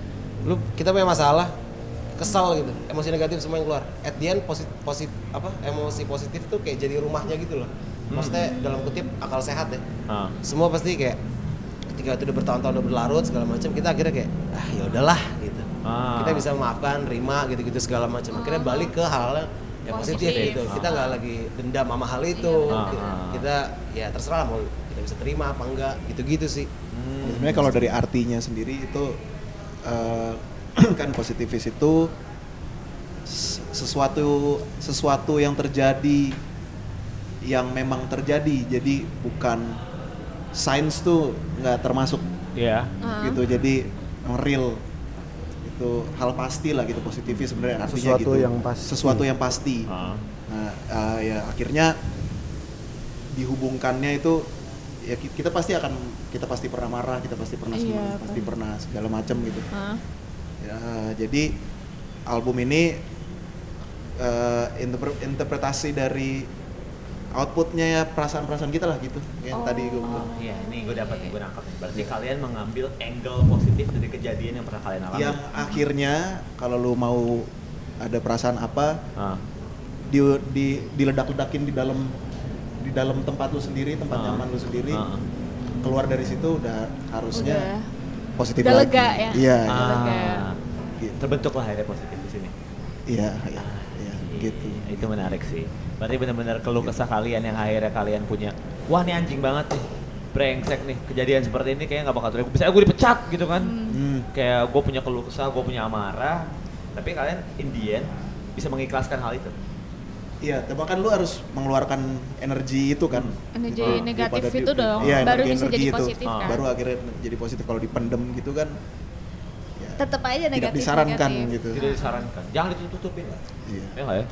Speaker 9: lu kita punya masalah kesal gitu emosi negatif semua yang keluar at the end posit, posit apa emosi positif tuh kayak jadi rumahnya gitu loh
Speaker 8: Hmm.
Speaker 9: maksudnya dalam kutip akal sehat ya
Speaker 2: Ah.
Speaker 9: semua pasti kayak ketika itu udah bertahun-tahun udah berlarut segala macam kita akhirnya kayak ah ya udahlah gitu
Speaker 2: Ah.
Speaker 9: kita bisa memaafkan terima gitu-gitu segala macam akhirnya balik ke hal yang positif,
Speaker 3: Positif.
Speaker 9: gitu kita nggak lagi dendam sama hal itu
Speaker 2: benar. Ah.
Speaker 9: kita ya terserah mau kita bisa terima apa enggak gitu-gitu sih
Speaker 8: Sebenarnya kalau dari artinya sendiri itu eh, kan positivis itu s- sesuatu sesuatu yang terjadi yang memang terjadi. Jadi bukan sains tuh nggak termasuk
Speaker 2: Iya.
Speaker 8: gitu. Jadi real itu hal pasti lah gitu positivis sebenarnya artinya
Speaker 10: Sesuatu
Speaker 8: gitu.
Speaker 10: yang pasti.
Speaker 8: Sesuatu yang pasti.
Speaker 2: Ah.
Speaker 8: Nah, eh, ya akhirnya dihubungkannya itu ya ki- kita pasti akan kita pasti pernah marah, kita pasti pernah
Speaker 3: Iya,
Speaker 8: senang, pasti
Speaker 3: pasti.
Speaker 8: pernah segala macam gitu.
Speaker 3: Hah?
Speaker 8: Ya, jadi album ini eh, interpre- interpretasi dari outputnya ya perasaan-perasaan kita lah gitu
Speaker 3: Oh.
Speaker 8: yang tadi gue
Speaker 9: Oh.
Speaker 8: bilang.
Speaker 2: Iya, ini gue dapat nih, gue nangkap nih.
Speaker 9: Iya.
Speaker 2: Berarti kalian mengambil
Speaker 9: Iya.
Speaker 2: angle positif dari kejadian yang pernah kalian alami.
Speaker 8: Yang akhirnya kalau lu mau ada perasaan apa
Speaker 2: Ah.
Speaker 8: di di diledak-ledakin di dalam di dalam tempat lu sendiri
Speaker 2: Ah.
Speaker 8: tempat nyaman lu sendiri
Speaker 2: Ah.
Speaker 8: keluar dari situ udah
Speaker 3: Udah.
Speaker 8: harusnya positif
Speaker 3: Udah
Speaker 8: lagi
Speaker 3: lega ya?
Speaker 8: iya
Speaker 3: Udah lega.
Speaker 2: Ah. Terbentuk lah akhirnya positif di sini.
Speaker 8: iya iya iya gitu
Speaker 2: Itu menarik sih. Berarti benar-benar keluh kesah kalian yang akhirnya kalian punya. Wah ini anjing banget nih. Brengsek nih. Kejadian seperti ini kayaknya nggak bakal terjadi. Misalnya gue dipecat gitu kan.
Speaker 8: Hmm.
Speaker 2: Kayak gue punya keluh kesah, gue punya amarah. Tapi kalian in the end bisa mengikhlaskan hal itu.
Speaker 8: iya tapi kan lu harus mengeluarkan energi itu kan
Speaker 3: Energi
Speaker 8: Gitu.
Speaker 3: negatif
Speaker 8: Daripada di-
Speaker 3: itu dong,
Speaker 8: iya,
Speaker 3: baru
Speaker 8: energi-
Speaker 3: bisa
Speaker 8: energi
Speaker 3: jadi
Speaker 8: itu.
Speaker 3: positif kan.
Speaker 8: baru akhirnya jadi positif kalau dipendem gitu kan
Speaker 7: Tetap aja
Speaker 8: Tidak
Speaker 7: negatif.
Speaker 8: disarankan
Speaker 7: negatif.
Speaker 8: gitu.
Speaker 2: Tidak disarankan. Jangan ditutup-tutupin lah.
Speaker 8: Iya.
Speaker 2: Ya nggak ya?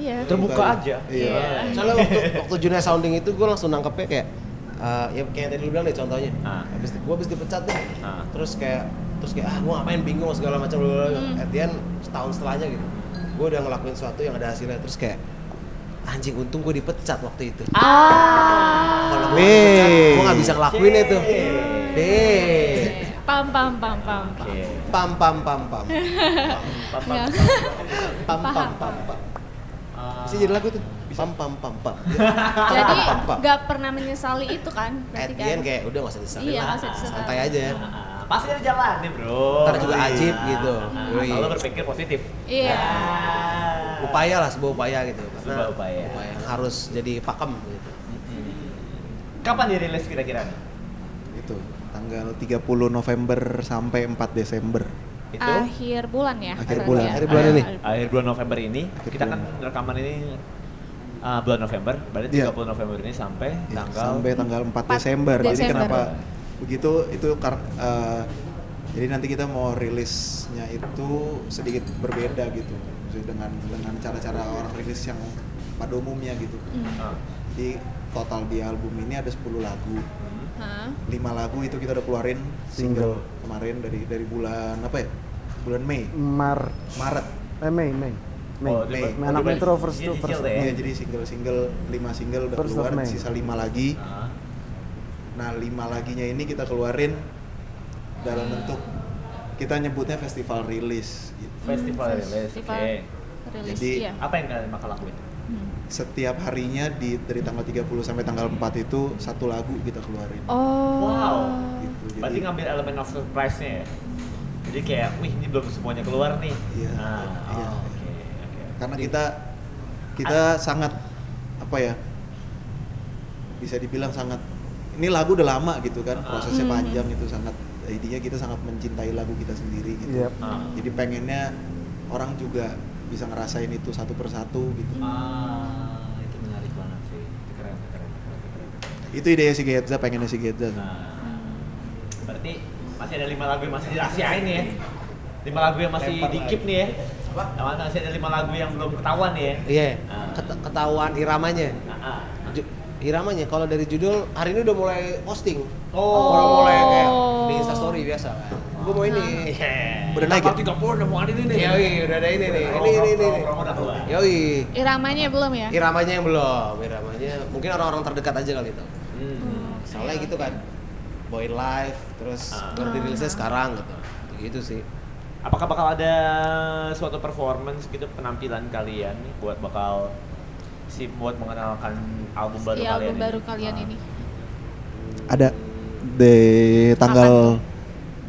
Speaker 7: Iya.
Speaker 2: Terbuka aja.
Speaker 8: Iya.
Speaker 9: Soalnya waktu waktu Junia sounding itu gue langsung nangkepnya kayak eh, ya kayak yang tadi lu bilang deh contohnya.
Speaker 2: Ah.
Speaker 9: Habis gue habis dipecat nih.
Speaker 2: Ah.
Speaker 9: Terus kayak terus kayak ah gue ngapain bingung segala macam bla At the end setahun setelahnya gitu. Gue udah ngelakuin sesuatu yang ada hasilnya terus kayak anjing untung gue dipecat waktu itu. Kalau gue dipecat gue nggak bisa ngelakuin itu. Deh.
Speaker 3: Pam pam pam pam. pam.
Speaker 2: Oke.
Speaker 9: Pam pam pam
Speaker 2: Pam,
Speaker 9: pam.
Speaker 2: pam,
Speaker 3: Iya.
Speaker 2: pam.
Speaker 9: Pam pam pam pam.
Speaker 2: Ah.
Speaker 9: Bisa jadi lagu tuh. Pam pam pam pam.
Speaker 7: Jadi
Speaker 9: Pam, pam, pam.
Speaker 7: nggak pernah menyesali itu kan?
Speaker 9: At
Speaker 7: Berarti
Speaker 9: the
Speaker 7: kan?
Speaker 9: end kayak udah gak usah disesalin
Speaker 7: Iya,
Speaker 9: lah.
Speaker 7: nggak usah disesalin.
Speaker 9: Santai aja. ya.
Speaker 2: Ah, Pasti ada jalan nih bro.
Speaker 9: Ntar juga ajib gitu. Yoi.
Speaker 2: Kalau berpikir positif.
Speaker 3: Iya.
Speaker 2: Ah.
Speaker 9: Upaya lah sebuah upaya gitu. Karena
Speaker 2: Sebuah upaya.
Speaker 9: yang harus jadi pakem gitu.
Speaker 2: Kapan dirilis kira-kira nih?
Speaker 8: itu gitu. tanggal 30 November sampai 4 Desember
Speaker 2: Itu
Speaker 7: Akhir bulan ya.
Speaker 8: Akhir
Speaker 7: berarti
Speaker 8: bulan,
Speaker 7: ya?
Speaker 8: akhir bulan ini.
Speaker 2: gitu. akhir bulan November ini.
Speaker 8: Akhir
Speaker 2: kita
Speaker 8: bulan.
Speaker 2: kan rekaman ini uh, bulan November, berarti
Speaker 8: Iya.
Speaker 2: 30 November ini sampai
Speaker 8: Ya,
Speaker 2: tanggal
Speaker 8: sampai tanggal 4
Speaker 3: 4
Speaker 8: Desember. Jadi
Speaker 3: Desember.
Speaker 8: kenapa begitu itu kar- eh, jadi nanti kita mau rilisnya itu sedikit berbeda gitu. Maksudnya dengan dengan cara-cara orang rilis yang pada umumnya gitu.
Speaker 3: Hmm.
Speaker 2: Ah.
Speaker 8: Jadi total di album ini ada 10 lagu.
Speaker 7: Hah?
Speaker 8: 5 lagu itu kita udah keluarin single, kemarin dari dari bulan apa ya? Bulan Mei,
Speaker 10: Mar
Speaker 8: Maret.
Speaker 10: eh Mei Mei Mei
Speaker 2: Oh,
Speaker 8: Mei.
Speaker 2: di-
Speaker 10: Anak
Speaker 2: di-
Speaker 10: Metro first
Speaker 2: di- di-
Speaker 10: to first.
Speaker 2: di-
Speaker 8: Iya,
Speaker 2: ya.
Speaker 8: jadi single-single 5 single udah
Speaker 10: First of
Speaker 8: keluar,
Speaker 10: May.
Speaker 8: sisa 5 lagi.
Speaker 2: Ah.
Speaker 8: Nah, lima laginya ini kita keluarin dalam bentuk kita nyebutnya festival rilis. gitu.
Speaker 2: Festival
Speaker 7: Hmm,
Speaker 2: rilis. Oke.
Speaker 7: festival. Rilis,
Speaker 8: Jadi,
Speaker 7: iya.
Speaker 2: Apa yang kalian bakal lakuin?
Speaker 8: Setiap harinya di dari tanggal 30 sampai tanggal 4 itu satu lagu kita keluarin.
Speaker 3: Oh.
Speaker 2: Wow.
Speaker 8: Gitu. Jadi
Speaker 2: Berarti ngambil elemen of surprise-nya ya. Jadi kayak, wih ini belum semuanya keluar nih.
Speaker 8: Iya.
Speaker 2: Ah, oh,
Speaker 8: Iya.
Speaker 2: oke, oke.
Speaker 8: karena
Speaker 2: Jadi-
Speaker 8: kita kita sangat apa ya? Bisa dibilang sangat ini lagu udah lama gitu kan, prosesnya panjang itu sangat intinya kita sangat mencintai lagu kita sendiri gitu.
Speaker 10: Yep.
Speaker 2: Ah.
Speaker 8: Jadi pengennya orang juga bisa ngerasain itu satu persatu gitu.
Speaker 2: Ah, itu menarik banget sih. Itu keren, keren, keren, keren.
Speaker 8: Itu ide si Gedza, pengennya si Gedza.
Speaker 2: Nah, berarti masih ada lima lagu yang masih dirahasiain nih ya. Lima lagu yang masih dikip nih ya. Apa? masih ada lima lagu yang belum ketahuan nih ya.
Speaker 9: Iya.
Speaker 2: Ah.
Speaker 9: Ket- Ketahuan iramanya.
Speaker 2: Ah, ah.
Speaker 9: Ju- iramanya kalau dari judul hari ini udah mulai posting.
Speaker 2: Oh.
Speaker 9: Udah mulai kayak di Insta story biasa kan. Gue mau ini.
Speaker 2: Nah.
Speaker 9: Iya.
Speaker 8: Udah naik ya?
Speaker 2: Tiga puluh udah mau ada ini nih.
Speaker 9: Yoi, udah ada ini nih.
Speaker 2: Promo-
Speaker 9: Ini ini ini.
Speaker 2: promo- promo udah keluar.
Speaker 9: Yoi.
Speaker 3: Iramanya belum ya?
Speaker 9: Iramanya yang belum, iramanya mungkin orang-orang terdekat aja kali itu.
Speaker 2: Hmm.
Speaker 9: Soalnya gitu kan. Boy Life terus
Speaker 2: Ah.
Speaker 9: baru dirilisnya sekarang gitu. Gitu sih.
Speaker 2: Apakah bakal ada suatu performance gitu penampilan kalian nih buat bakal si buat mengenalkan album baru
Speaker 3: Iya,
Speaker 2: kalian
Speaker 3: album
Speaker 2: ini?
Speaker 3: baru kalian
Speaker 2: Ah.
Speaker 3: ini.
Speaker 8: Ada di tanggal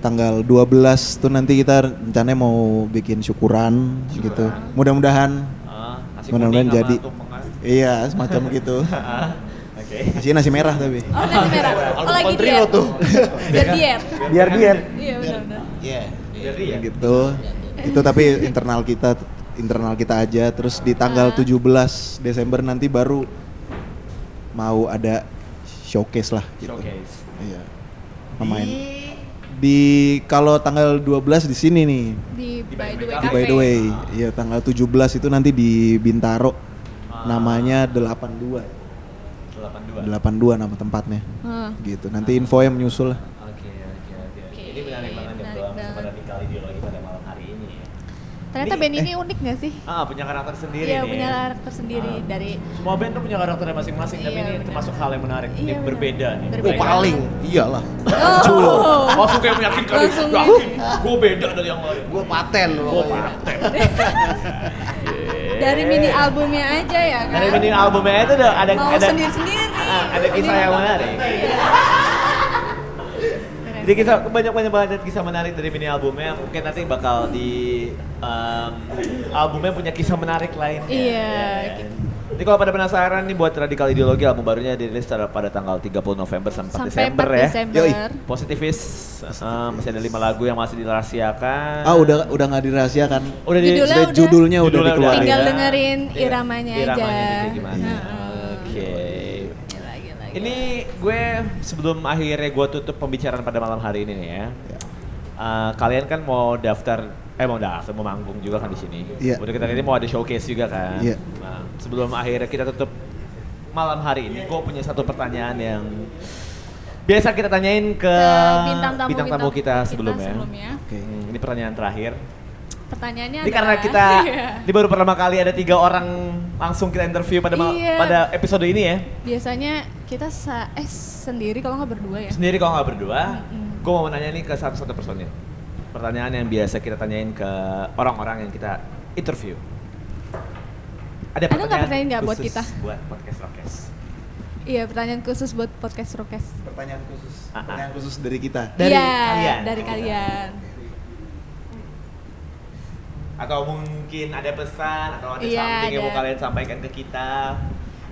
Speaker 8: tanggal 12 tuh nanti kita rencananya mau bikin syukuran, gitu. Mudah-mudahan
Speaker 2: Ah, nasi
Speaker 8: mudah-mudahan
Speaker 2: kuning sama
Speaker 8: jadi.
Speaker 2: tumpengan.
Speaker 8: Iya, semacam gitu.
Speaker 2: Ah, Oke.
Speaker 8: Kasih nasi merah tapi.
Speaker 3: Oh, nanti merah. Oh,
Speaker 9: Album
Speaker 3: lagi
Speaker 9: country
Speaker 3: diet.
Speaker 9: lo tuh.
Speaker 3: Biar diet.
Speaker 10: biar diet
Speaker 3: Iya, benar-benar.
Speaker 9: Iya.
Speaker 2: Jadi ya.
Speaker 8: Gitu. Itu tapi internal kita internal kita aja terus
Speaker 3: Ah.
Speaker 8: di tanggal 17 Desember nanti baru mau ada showcase lah gitu.
Speaker 2: Showcase.
Speaker 8: Iya. Pemain. Di kalau tanggal 12 di sini nih.
Speaker 3: Di by the way.
Speaker 8: Di by the way, ya tanggal 17 itu nanti di Bintaro. Namanya 82.
Speaker 2: 82.
Speaker 8: 82 nama tempatnya.
Speaker 3: Heeh.
Speaker 8: Gitu. Nanti info yang menyusul lah.
Speaker 2: Oke, oke, oke. Ini menarik banget ya, Bang. Sama radikal ideologi pada malam hari ini ya.
Speaker 3: Ternyata
Speaker 2: Ini-
Speaker 3: band ini unik gak sih?
Speaker 2: Ah, punya karakter sendiri
Speaker 3: Iya
Speaker 2: nih.
Speaker 3: punya karakter sendiri
Speaker 2: Ah.
Speaker 3: dari
Speaker 2: Semua band tuh punya karakternya masing-masing, tapi
Speaker 3: Iya,
Speaker 2: ini
Speaker 3: benar.
Speaker 2: termasuk hal yang menarik,
Speaker 3: Iya,
Speaker 2: nih,
Speaker 3: benar.
Speaker 2: berbeda nih.
Speaker 3: Berbeda.
Speaker 2: Baik.
Speaker 8: paling iyalah
Speaker 3: Oh.
Speaker 2: Langsung kayak meyakinkan,
Speaker 3: Langsung. ya.
Speaker 2: yakin, gue beda dari yang lain.
Speaker 8: gue paten
Speaker 2: Gue paten.
Speaker 3: dari mini albumnya aja ya kan?
Speaker 2: Dari mini albumnya itu ada ada
Speaker 3: Mau
Speaker 2: ada,
Speaker 3: sendiri-sendiri.
Speaker 2: ah, ada kisah yang menarik. Jadi kisah banyak banyak banget kisah menarik dari mini albumnya. Mungkin nanti bakal di em, albumnya punya kisah menarik lain.
Speaker 3: Iya.
Speaker 2: Jadi kalau pada penasaran nih buat Radikal Ideologi album barunya dirilis pada pada tanggal 30 November sampai 4
Speaker 3: Sampai 4
Speaker 2: Desember ya.
Speaker 3: Desember.
Speaker 8: Yoi.
Speaker 2: Positivis, eh, masih ada lima lagu yang masih dirahasiakan.
Speaker 8: ah udah udah nggak dirahasiakan
Speaker 2: Udah di-
Speaker 3: Judulnya
Speaker 8: sudah
Speaker 3: udah.
Speaker 8: judulnya udah
Speaker 2: Judulnya
Speaker 8: dikeluarin
Speaker 3: Tinggal
Speaker 2: ada.
Speaker 3: dengerin
Speaker 2: Iya,
Speaker 3: iramanya aja.
Speaker 2: iramanya gitu gimana. Oke.
Speaker 3: Gila, gila, gila.
Speaker 2: Ini gue sebelum akhirnya gue tutup pembicaraan pada malam hari ini nih ya. Eh, kalian kan mau daftar eh mau daftar mau manggung juga kan di sini.
Speaker 8: Iya.
Speaker 2: Udah kita ini mau ada showcase juga kan.
Speaker 8: Iya.
Speaker 2: Nah, sebelum akhirnya kita tutup malam hari ini, gue punya satu pertanyaan yang biasa kita tanyain ke,
Speaker 3: Ke bintang tamu,
Speaker 2: kita sebelumnya.
Speaker 3: sebelumnya.
Speaker 8: Oke.
Speaker 2: Hmm, ini pertanyaan terakhir.
Speaker 3: Pertanyaannya
Speaker 2: Ini karena
Speaker 3: adalah-
Speaker 2: kita
Speaker 3: Iya.
Speaker 2: ini baru pertama kali ada tiga orang langsung kita interview pada mal-
Speaker 3: Iya.
Speaker 2: pada episode ini ya.
Speaker 3: biasanya kita sa eh sendiri kalau nggak berdua ya.
Speaker 2: Sendiri kalau nggak berdua, gue mau nanya nih ke satu-satu personnya. Pertanyaan yang biasa kita tanyain ke orang-orang yang kita interview. Ada
Speaker 3: Ada nggak
Speaker 2: pertanyaan,
Speaker 3: pertanyaan nggak buat
Speaker 2: khusus
Speaker 3: kita?
Speaker 2: Buat podcast Rokes.
Speaker 3: Iya, pertanyaan khusus buat podcast Rokes.
Speaker 8: pertanyaan khusus
Speaker 2: Ah, ah.
Speaker 8: pertanyaan khusus dari kita
Speaker 2: Dari
Speaker 3: Iya,
Speaker 2: kalian. ya?
Speaker 3: Dari kalian.
Speaker 2: Atau mungkin ada pesan atau ada
Speaker 3: Iya,
Speaker 2: something yang mau
Speaker 3: ada.
Speaker 2: kalian sampaikan ke kita.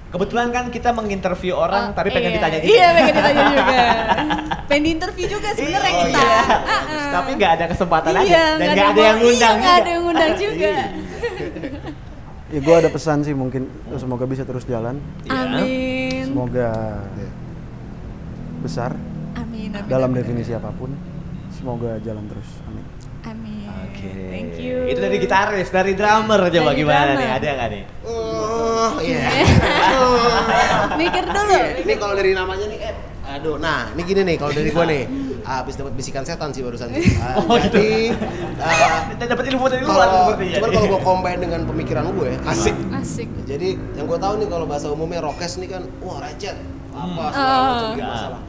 Speaker 2: Kebetulan kan kita menginterview orang,
Speaker 3: Oh,
Speaker 2: tapi pengen
Speaker 3: iya.
Speaker 2: ditanya juga.
Speaker 3: Iya, pengen ditanya juga. pengen diinterview juga sebenarnya
Speaker 2: Iya.
Speaker 3: kita.
Speaker 2: Iya.
Speaker 3: Ah, ah.
Speaker 2: Tapi nggak ada kesempatan aja
Speaker 3: Iya,
Speaker 2: dan nggak ada yang
Speaker 3: mau-
Speaker 2: ngundang.
Speaker 3: Iya, nggak
Speaker 2: juga.
Speaker 3: ada
Speaker 2: Iya.
Speaker 3: yang ngundang juga.
Speaker 10: ya gue ada pesan sih mungkin semoga bisa terus jalan
Speaker 2: Iya.
Speaker 3: Amin.
Speaker 10: semoga
Speaker 8: Iya.
Speaker 10: besar
Speaker 3: Amin. amin,
Speaker 10: dalam
Speaker 3: amin,
Speaker 10: definisi apapun semoga jalan terus amin
Speaker 3: Amin.
Speaker 2: Oke.
Speaker 3: Thank you.
Speaker 2: Itu dari gitaris, dari drummer coba
Speaker 3: Dari
Speaker 2: gimana
Speaker 3: drummer.
Speaker 2: nih? Ada nggak nih?
Speaker 9: Oh, iya. Oh.
Speaker 3: Mikir dulu.
Speaker 2: Iya.
Speaker 9: Ini kalau dari namanya nih, Ed. Aduh, nah ini gini nih kalau dari gua nih. ah, Habis dapat bisikan setan sih barusan. sih. Ah,
Speaker 2: Oh, gitu.
Speaker 9: jadi ah,
Speaker 2: Kita dapat info dari luar ya? Iya.
Speaker 9: kalau
Speaker 2: sepertinya.
Speaker 9: cuman kalau gua combine dengan pemikiran gue, asik.
Speaker 3: Asik.
Speaker 9: Jadi yang gua tahu nih kalau bahasa umumnya rokes nih kan, wah rajat. Apa
Speaker 2: Hmm.
Speaker 9: segala
Speaker 3: Oh.
Speaker 9: macam
Speaker 2: Iya.
Speaker 9: bikin masalah.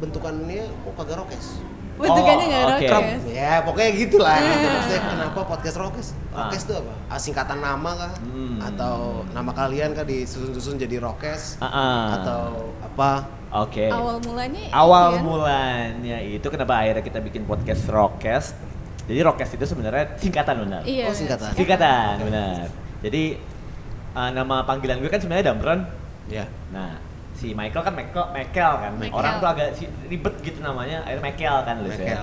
Speaker 9: Bentukannya kok kagak rokes.
Speaker 3: Bentukannya nggak
Speaker 2: Oh, oke.
Speaker 3: rock ya?
Speaker 9: Ya, pokoknya gitulah. Gitu. Maksudnya kenapa podcast Rokes? Rokes
Speaker 2: Eh. Ah.
Speaker 9: itu apa? Ah, Singkatan nama kah?
Speaker 2: Hmm.
Speaker 9: Atau nama kalian kah disusun-susun jadi Rokes?
Speaker 2: Ah, ah.
Speaker 9: Atau apa?
Speaker 2: Oke.
Speaker 3: Awal mulanya
Speaker 2: Awal
Speaker 3: kan?
Speaker 2: mulanya itu kenapa akhirnya kita bikin podcast Rockcast. Jadi Rockcast itu sebenarnya singkatan benar.
Speaker 3: Iya.
Speaker 2: ah.
Speaker 9: Oh, singkatan.
Speaker 2: Singkatan benar. Jadi eh, nama panggilan gue kan sebenarnya Damron.
Speaker 9: Ya.
Speaker 2: Nah, si Michael kan Michael, Michael kan.
Speaker 3: Michael.
Speaker 2: Orang tuh agak si- ribet gitu namanya. Akhirnya Michael kan lu ya.
Speaker 9: Michael.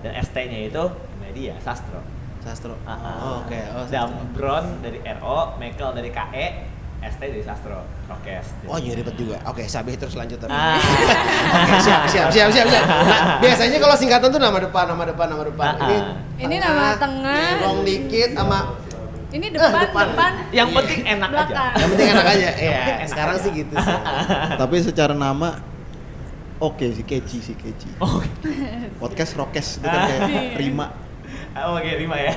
Speaker 2: Dan ST-nya itu media sastra.
Speaker 9: Sastro.
Speaker 2: Ah,
Speaker 9: Oh, Oke, oh, Sastro.
Speaker 2: Damron dari RO, Michael dari KE, ST dari Sastro, Rockcast.
Speaker 9: Oh, iya ribet juga. Oke, Sabih terus lanjut tapi.
Speaker 2: Ah.
Speaker 9: Oke, siap, siap, siap, siap, siap. Nah, biasanya kalau singkatan tuh nama depan, nama depan, nama depan.
Speaker 2: Ah,
Speaker 9: Ini
Speaker 2: ah.
Speaker 3: Ini nama tengah.
Speaker 9: Long dikit sama
Speaker 3: Ini depan,
Speaker 9: Eh, depan.
Speaker 3: depan,
Speaker 2: Yang penting enak aja.
Speaker 3: belakang.
Speaker 9: yang penting enak aja. Iya, sekarang sih gitu sih.
Speaker 2: Ah.
Speaker 8: tapi secara nama oke sih keci sih keci podcast rokes itu kan kayak prima
Speaker 2: Oh, Oke, terima ya.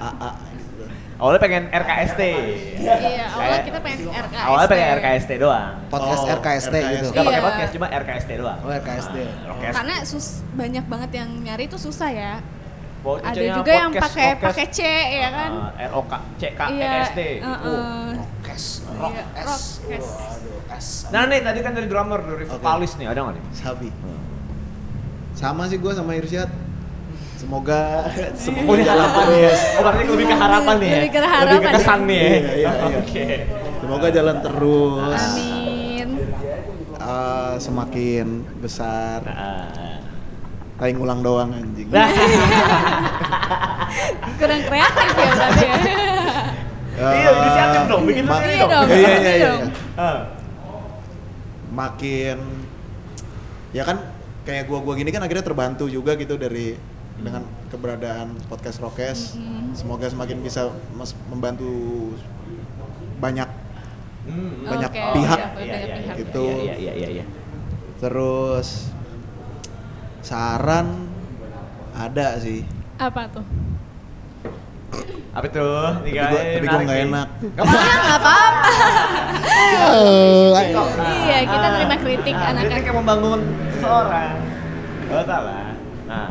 Speaker 8: aa gitu kan.
Speaker 2: Awalnya pengen RKST.
Speaker 3: Iya, awalnya
Speaker 2: Saya-
Speaker 3: kita pengen RKST.
Speaker 2: Awalnya pengen RKST doang.
Speaker 9: Podcast
Speaker 8: Oh,
Speaker 9: RKST, gitu.
Speaker 2: Gak pakai
Speaker 3: Iya. Kan
Speaker 2: podcast, cuma RKST doang. Ah,
Speaker 9: Oh, RKST.
Speaker 2: Rockcast.
Speaker 3: Karena sus banyak banget yang nyari itu susah ya.
Speaker 2: Bawa
Speaker 3: Ada
Speaker 2: cucunya
Speaker 3: juga yang
Speaker 2: Oh, podcast,
Speaker 3: pakai
Speaker 2: podcast.
Speaker 3: pakai C ya kan?
Speaker 2: Ah, ROK, CK,
Speaker 3: Iya.
Speaker 2: EST.
Speaker 3: heeh.
Speaker 9: Kes, rock,
Speaker 3: Iya,
Speaker 9: S.
Speaker 3: rock, S.
Speaker 9: Waduh, S.
Speaker 2: Nah nih tadi kan dari drummer, dari vokalis nih, ada nggak nih?
Speaker 8: sabi sama sih gue sama Irsyad semoga
Speaker 2: Oh ini harapan ya? Oh berarti lebih ke harapan nih ya?
Speaker 3: Iya. Lebih ke harapan
Speaker 2: Lebih ke kesan
Speaker 3: ya?
Speaker 2: nih ya?
Speaker 8: Iya, iya, iya.
Speaker 2: Oke.
Speaker 8: semoga jalan terus
Speaker 3: Amin.
Speaker 8: Eh, semakin besar
Speaker 2: Ah.
Speaker 8: tai ngulang doang anjing
Speaker 3: Kurang kreatif ya berarti ya.
Speaker 2: Iya, inisiatif dong, bikin
Speaker 8: ma-
Speaker 2: sendiri
Speaker 3: Iya dong,
Speaker 8: Iya, iya,
Speaker 3: iya
Speaker 8: iya,
Speaker 3: dong.
Speaker 8: iya.
Speaker 2: Ah.
Speaker 8: makin ya kan kayak gua-gua gini kan akhirnya terbantu juga gitu dari dengan keberadaan podcast Rokes. Semoga semakin bisa mes- membantu banyak
Speaker 2: Hmm.
Speaker 8: banyak
Speaker 3: Oke, iya,
Speaker 8: pihak
Speaker 3: siap, banyak pihak.
Speaker 8: gitu.
Speaker 2: Iya, iya, iya, iya.
Speaker 8: Terus saran ada sih.
Speaker 3: iya. Apa tuh?
Speaker 2: Apa tuh? Nih,
Speaker 8: Tapi gua-
Speaker 2: guys,
Speaker 8: tapi gua
Speaker 2: menarik
Speaker 8: nggak
Speaker 2: nih.
Speaker 8: enak.
Speaker 2: Nggak apa-apa.
Speaker 7: Nggak apa-apa. Iya, kita
Speaker 2: Ah,
Speaker 7: terima kritik
Speaker 2: ah,
Speaker 7: anak-anak.
Speaker 2: Kritik yang membangun seseorang. Gak salah. Nah,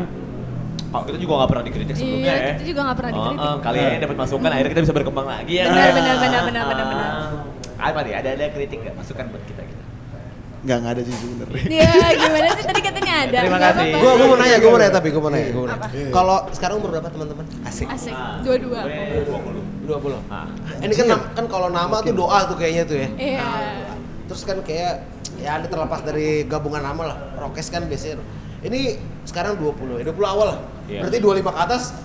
Speaker 2: kalau kita juga gak pernah dikritik sebelumnya
Speaker 7: Iya,
Speaker 2: ya.
Speaker 7: kita juga nggak pernah
Speaker 2: Oh,
Speaker 7: dikritik. Hmm.
Speaker 2: oh, kalian yang dapat masukan akhirnya kita bisa berkembang lagi ya.
Speaker 7: Benar,
Speaker 2: kan?
Speaker 7: benar, benar, benar, benar, benar.
Speaker 2: Ah, Apa nih? Ada ada kritik nggak masukan buat kita kita?
Speaker 8: Nggak, nggak ada sih sebenernya.
Speaker 7: Iya, gimana sih tadi katanya ada.
Speaker 2: Terima
Speaker 7: Nggak
Speaker 2: kasih.
Speaker 7: apa-apa.
Speaker 9: Gue mau nanya, gue mau nanya tapi gue mau
Speaker 2: Iya.
Speaker 9: nanya. gua mau nanya.
Speaker 7: Apa?
Speaker 9: Kalau sekarang umur berapa teman-teman? Asik.
Speaker 7: Asik,
Speaker 3: Ah.
Speaker 7: dua-dua.
Speaker 9: Dua puluh.
Speaker 2: Ah.
Speaker 9: Ini kan nam- kan kalau nama tuh doa tuh kayaknya tuh ya.
Speaker 7: Iya.
Speaker 9: Terus kan kayak ya ada terlepas dari gabungan nama lah. Rokes kan biasanya. Ini sekarang 20, ya 20 awal lah.
Speaker 2: Iya.
Speaker 9: Berarti 25 ke atas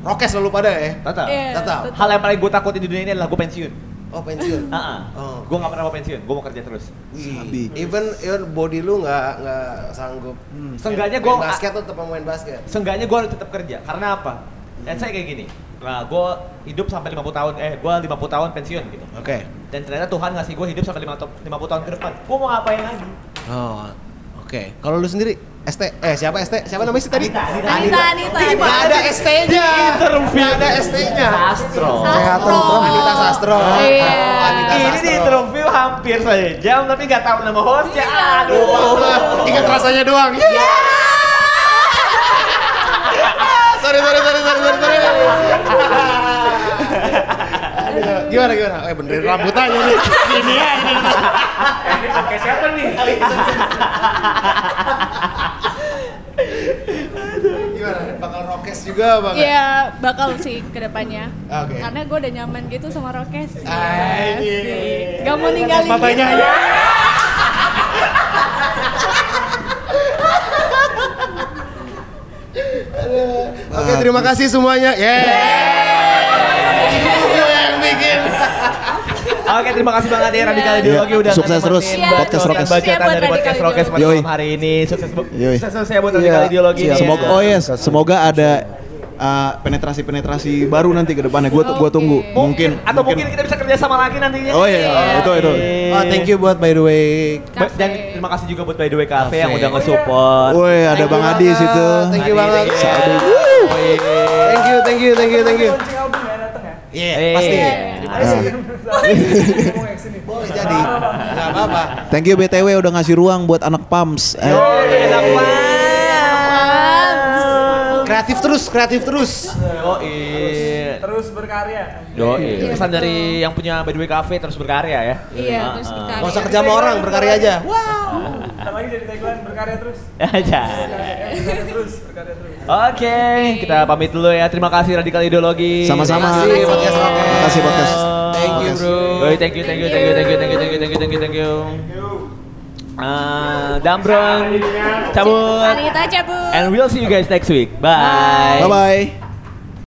Speaker 9: Rokes selalu pada ya.
Speaker 2: Tata.
Speaker 7: Iya,
Speaker 3: Eh,
Speaker 9: Tetap.
Speaker 7: tetap.
Speaker 2: Hal yang paling gue takutin di dunia ini adalah gue pensiun. Ah,
Speaker 9: Oh pensiun.
Speaker 2: Heeh.
Speaker 9: Oh.
Speaker 2: Gue gak pernah mau pensiun, gue mau kerja terus.
Speaker 8: Sabi.
Speaker 9: Even even body lu nggak nggak sanggup.
Speaker 2: Hmm, Seenggaknya
Speaker 9: Main
Speaker 2: gua-
Speaker 9: basket tuh tetap main basket.
Speaker 2: Seenggaknya gue harus tetap kerja. Karena apa? Dan saya kayak gini. Nah, gue hidup sampai 50 tahun, eh gue 50 tahun pensiun gitu.
Speaker 9: Oke.
Speaker 2: Dan ternyata Tuhan ngasih gue hidup sampai 50 tahun ke depan. Gue mau ngapain lagi?
Speaker 9: Oh, oke. Kalau lu sendiri, ST, eh siapa ST? Siapa namanya sih tadi? Anita,
Speaker 7: Anita, Anita, Anita. Iya.
Speaker 9: Nggak ada ST-nya. Nggak ada ST-nya.
Speaker 2: Astro.
Speaker 9: Sastro. Anita Sastro.
Speaker 7: Iya.
Speaker 9: Oh, Anita
Speaker 2: Ini di
Speaker 9: Sastro.
Speaker 2: interview hampir saya jam tapi nggak tahu nama hostnya. Aduh.
Speaker 9: Oh, Ingat rasanya doang. Ya. sorry, sorry, sorry, sorry, sorry, sorry. Aduh, gimana gimana? Eh benerin rambut aja nih. Ini ya, ini.
Speaker 5: Ini pakai siapa nih?
Speaker 9: Gimana? Bakal rokes juga bakal.
Speaker 3: Iya, bakal sih ke depannya.
Speaker 9: Oke.
Speaker 3: Karena gue udah nyaman gitu sama Rokes.
Speaker 9: Anjing.
Speaker 3: Gak mau ninggalin
Speaker 9: Papanya
Speaker 3: gitu.
Speaker 9: ya. Oke, terima kasih semuanya. Yeah. Gue yang bikin.
Speaker 2: Oke, terima kasih banget ya Radikal Ideologi
Speaker 8: Iya,
Speaker 2: udah
Speaker 8: sukses terus,
Speaker 2: podcast
Speaker 8: Podcast
Speaker 2: Rokes.
Speaker 8: Rokes.
Speaker 2: Bacaan
Speaker 3: Iya, buat
Speaker 2: dari podcast
Speaker 3: Radikal
Speaker 2: Rokes pada
Speaker 8: Yoi.
Speaker 2: malam hari ini. Sukses bu-
Speaker 8: Yoi. Iya,
Speaker 2: sukses sukses ya buat Radikal Ideologi. ini ya.
Speaker 8: Semoga oh yes, semoga ada uh, penetrasi-penetrasi baru nanti ke depannya. Gua tu- gua tunggu. Mungkin
Speaker 2: atau mungkin kita bisa kerja sama lagi nantinya.
Speaker 8: Oh iya, itu itu.
Speaker 9: Oh, thank you buat by the way.
Speaker 2: Ba- Dan
Speaker 3: Cafe.
Speaker 2: terima kasih juga buat By The Way Cafe yang
Speaker 9: Cafe.
Speaker 2: udah nge-support.
Speaker 8: Woi, ada
Speaker 9: Thank
Speaker 8: Bang
Speaker 9: you
Speaker 8: Adi
Speaker 9: banget.
Speaker 8: situ.
Speaker 9: Thank you banget.
Speaker 8: Satu.
Speaker 9: Thank you, thank you, thank you, thank you. Iya,
Speaker 2: Eh,
Speaker 9: pasti.
Speaker 2: iya.
Speaker 9: Terima kasih. Boleh jadi. Enggak apa-apa.
Speaker 8: Iya. Thank you BTW udah ngasih ruang buat anak PAMS. Eh,
Speaker 2: Yoi, enak banget.
Speaker 9: Kreatif terus, kreatif terus.
Speaker 2: Yoi. Terus berkarya. Yoi. Pesan dari yang punya By The Way Cafe terus berkarya ya.
Speaker 7: Iya, terus berkarya.
Speaker 9: Gak usah kerja sama orang, berkarya aja.
Speaker 2: Aja. Oke, kita pamit dulu ya. Terima kasih Radikal Ideologi.
Speaker 8: Sama-sama.
Speaker 9: Terima kasih, podcast Rokes.
Speaker 8: Terima kasih podcast.
Speaker 9: Thank you, bro.
Speaker 2: Yoi, thank you, thank you, thank you, thank you, thank you, thank you, thank you, thank you, thank you. Ah, Dambron, cabut.
Speaker 7: Anita cabut.
Speaker 2: And we'll see you guys next week. Bye.
Speaker 8: Bye bye.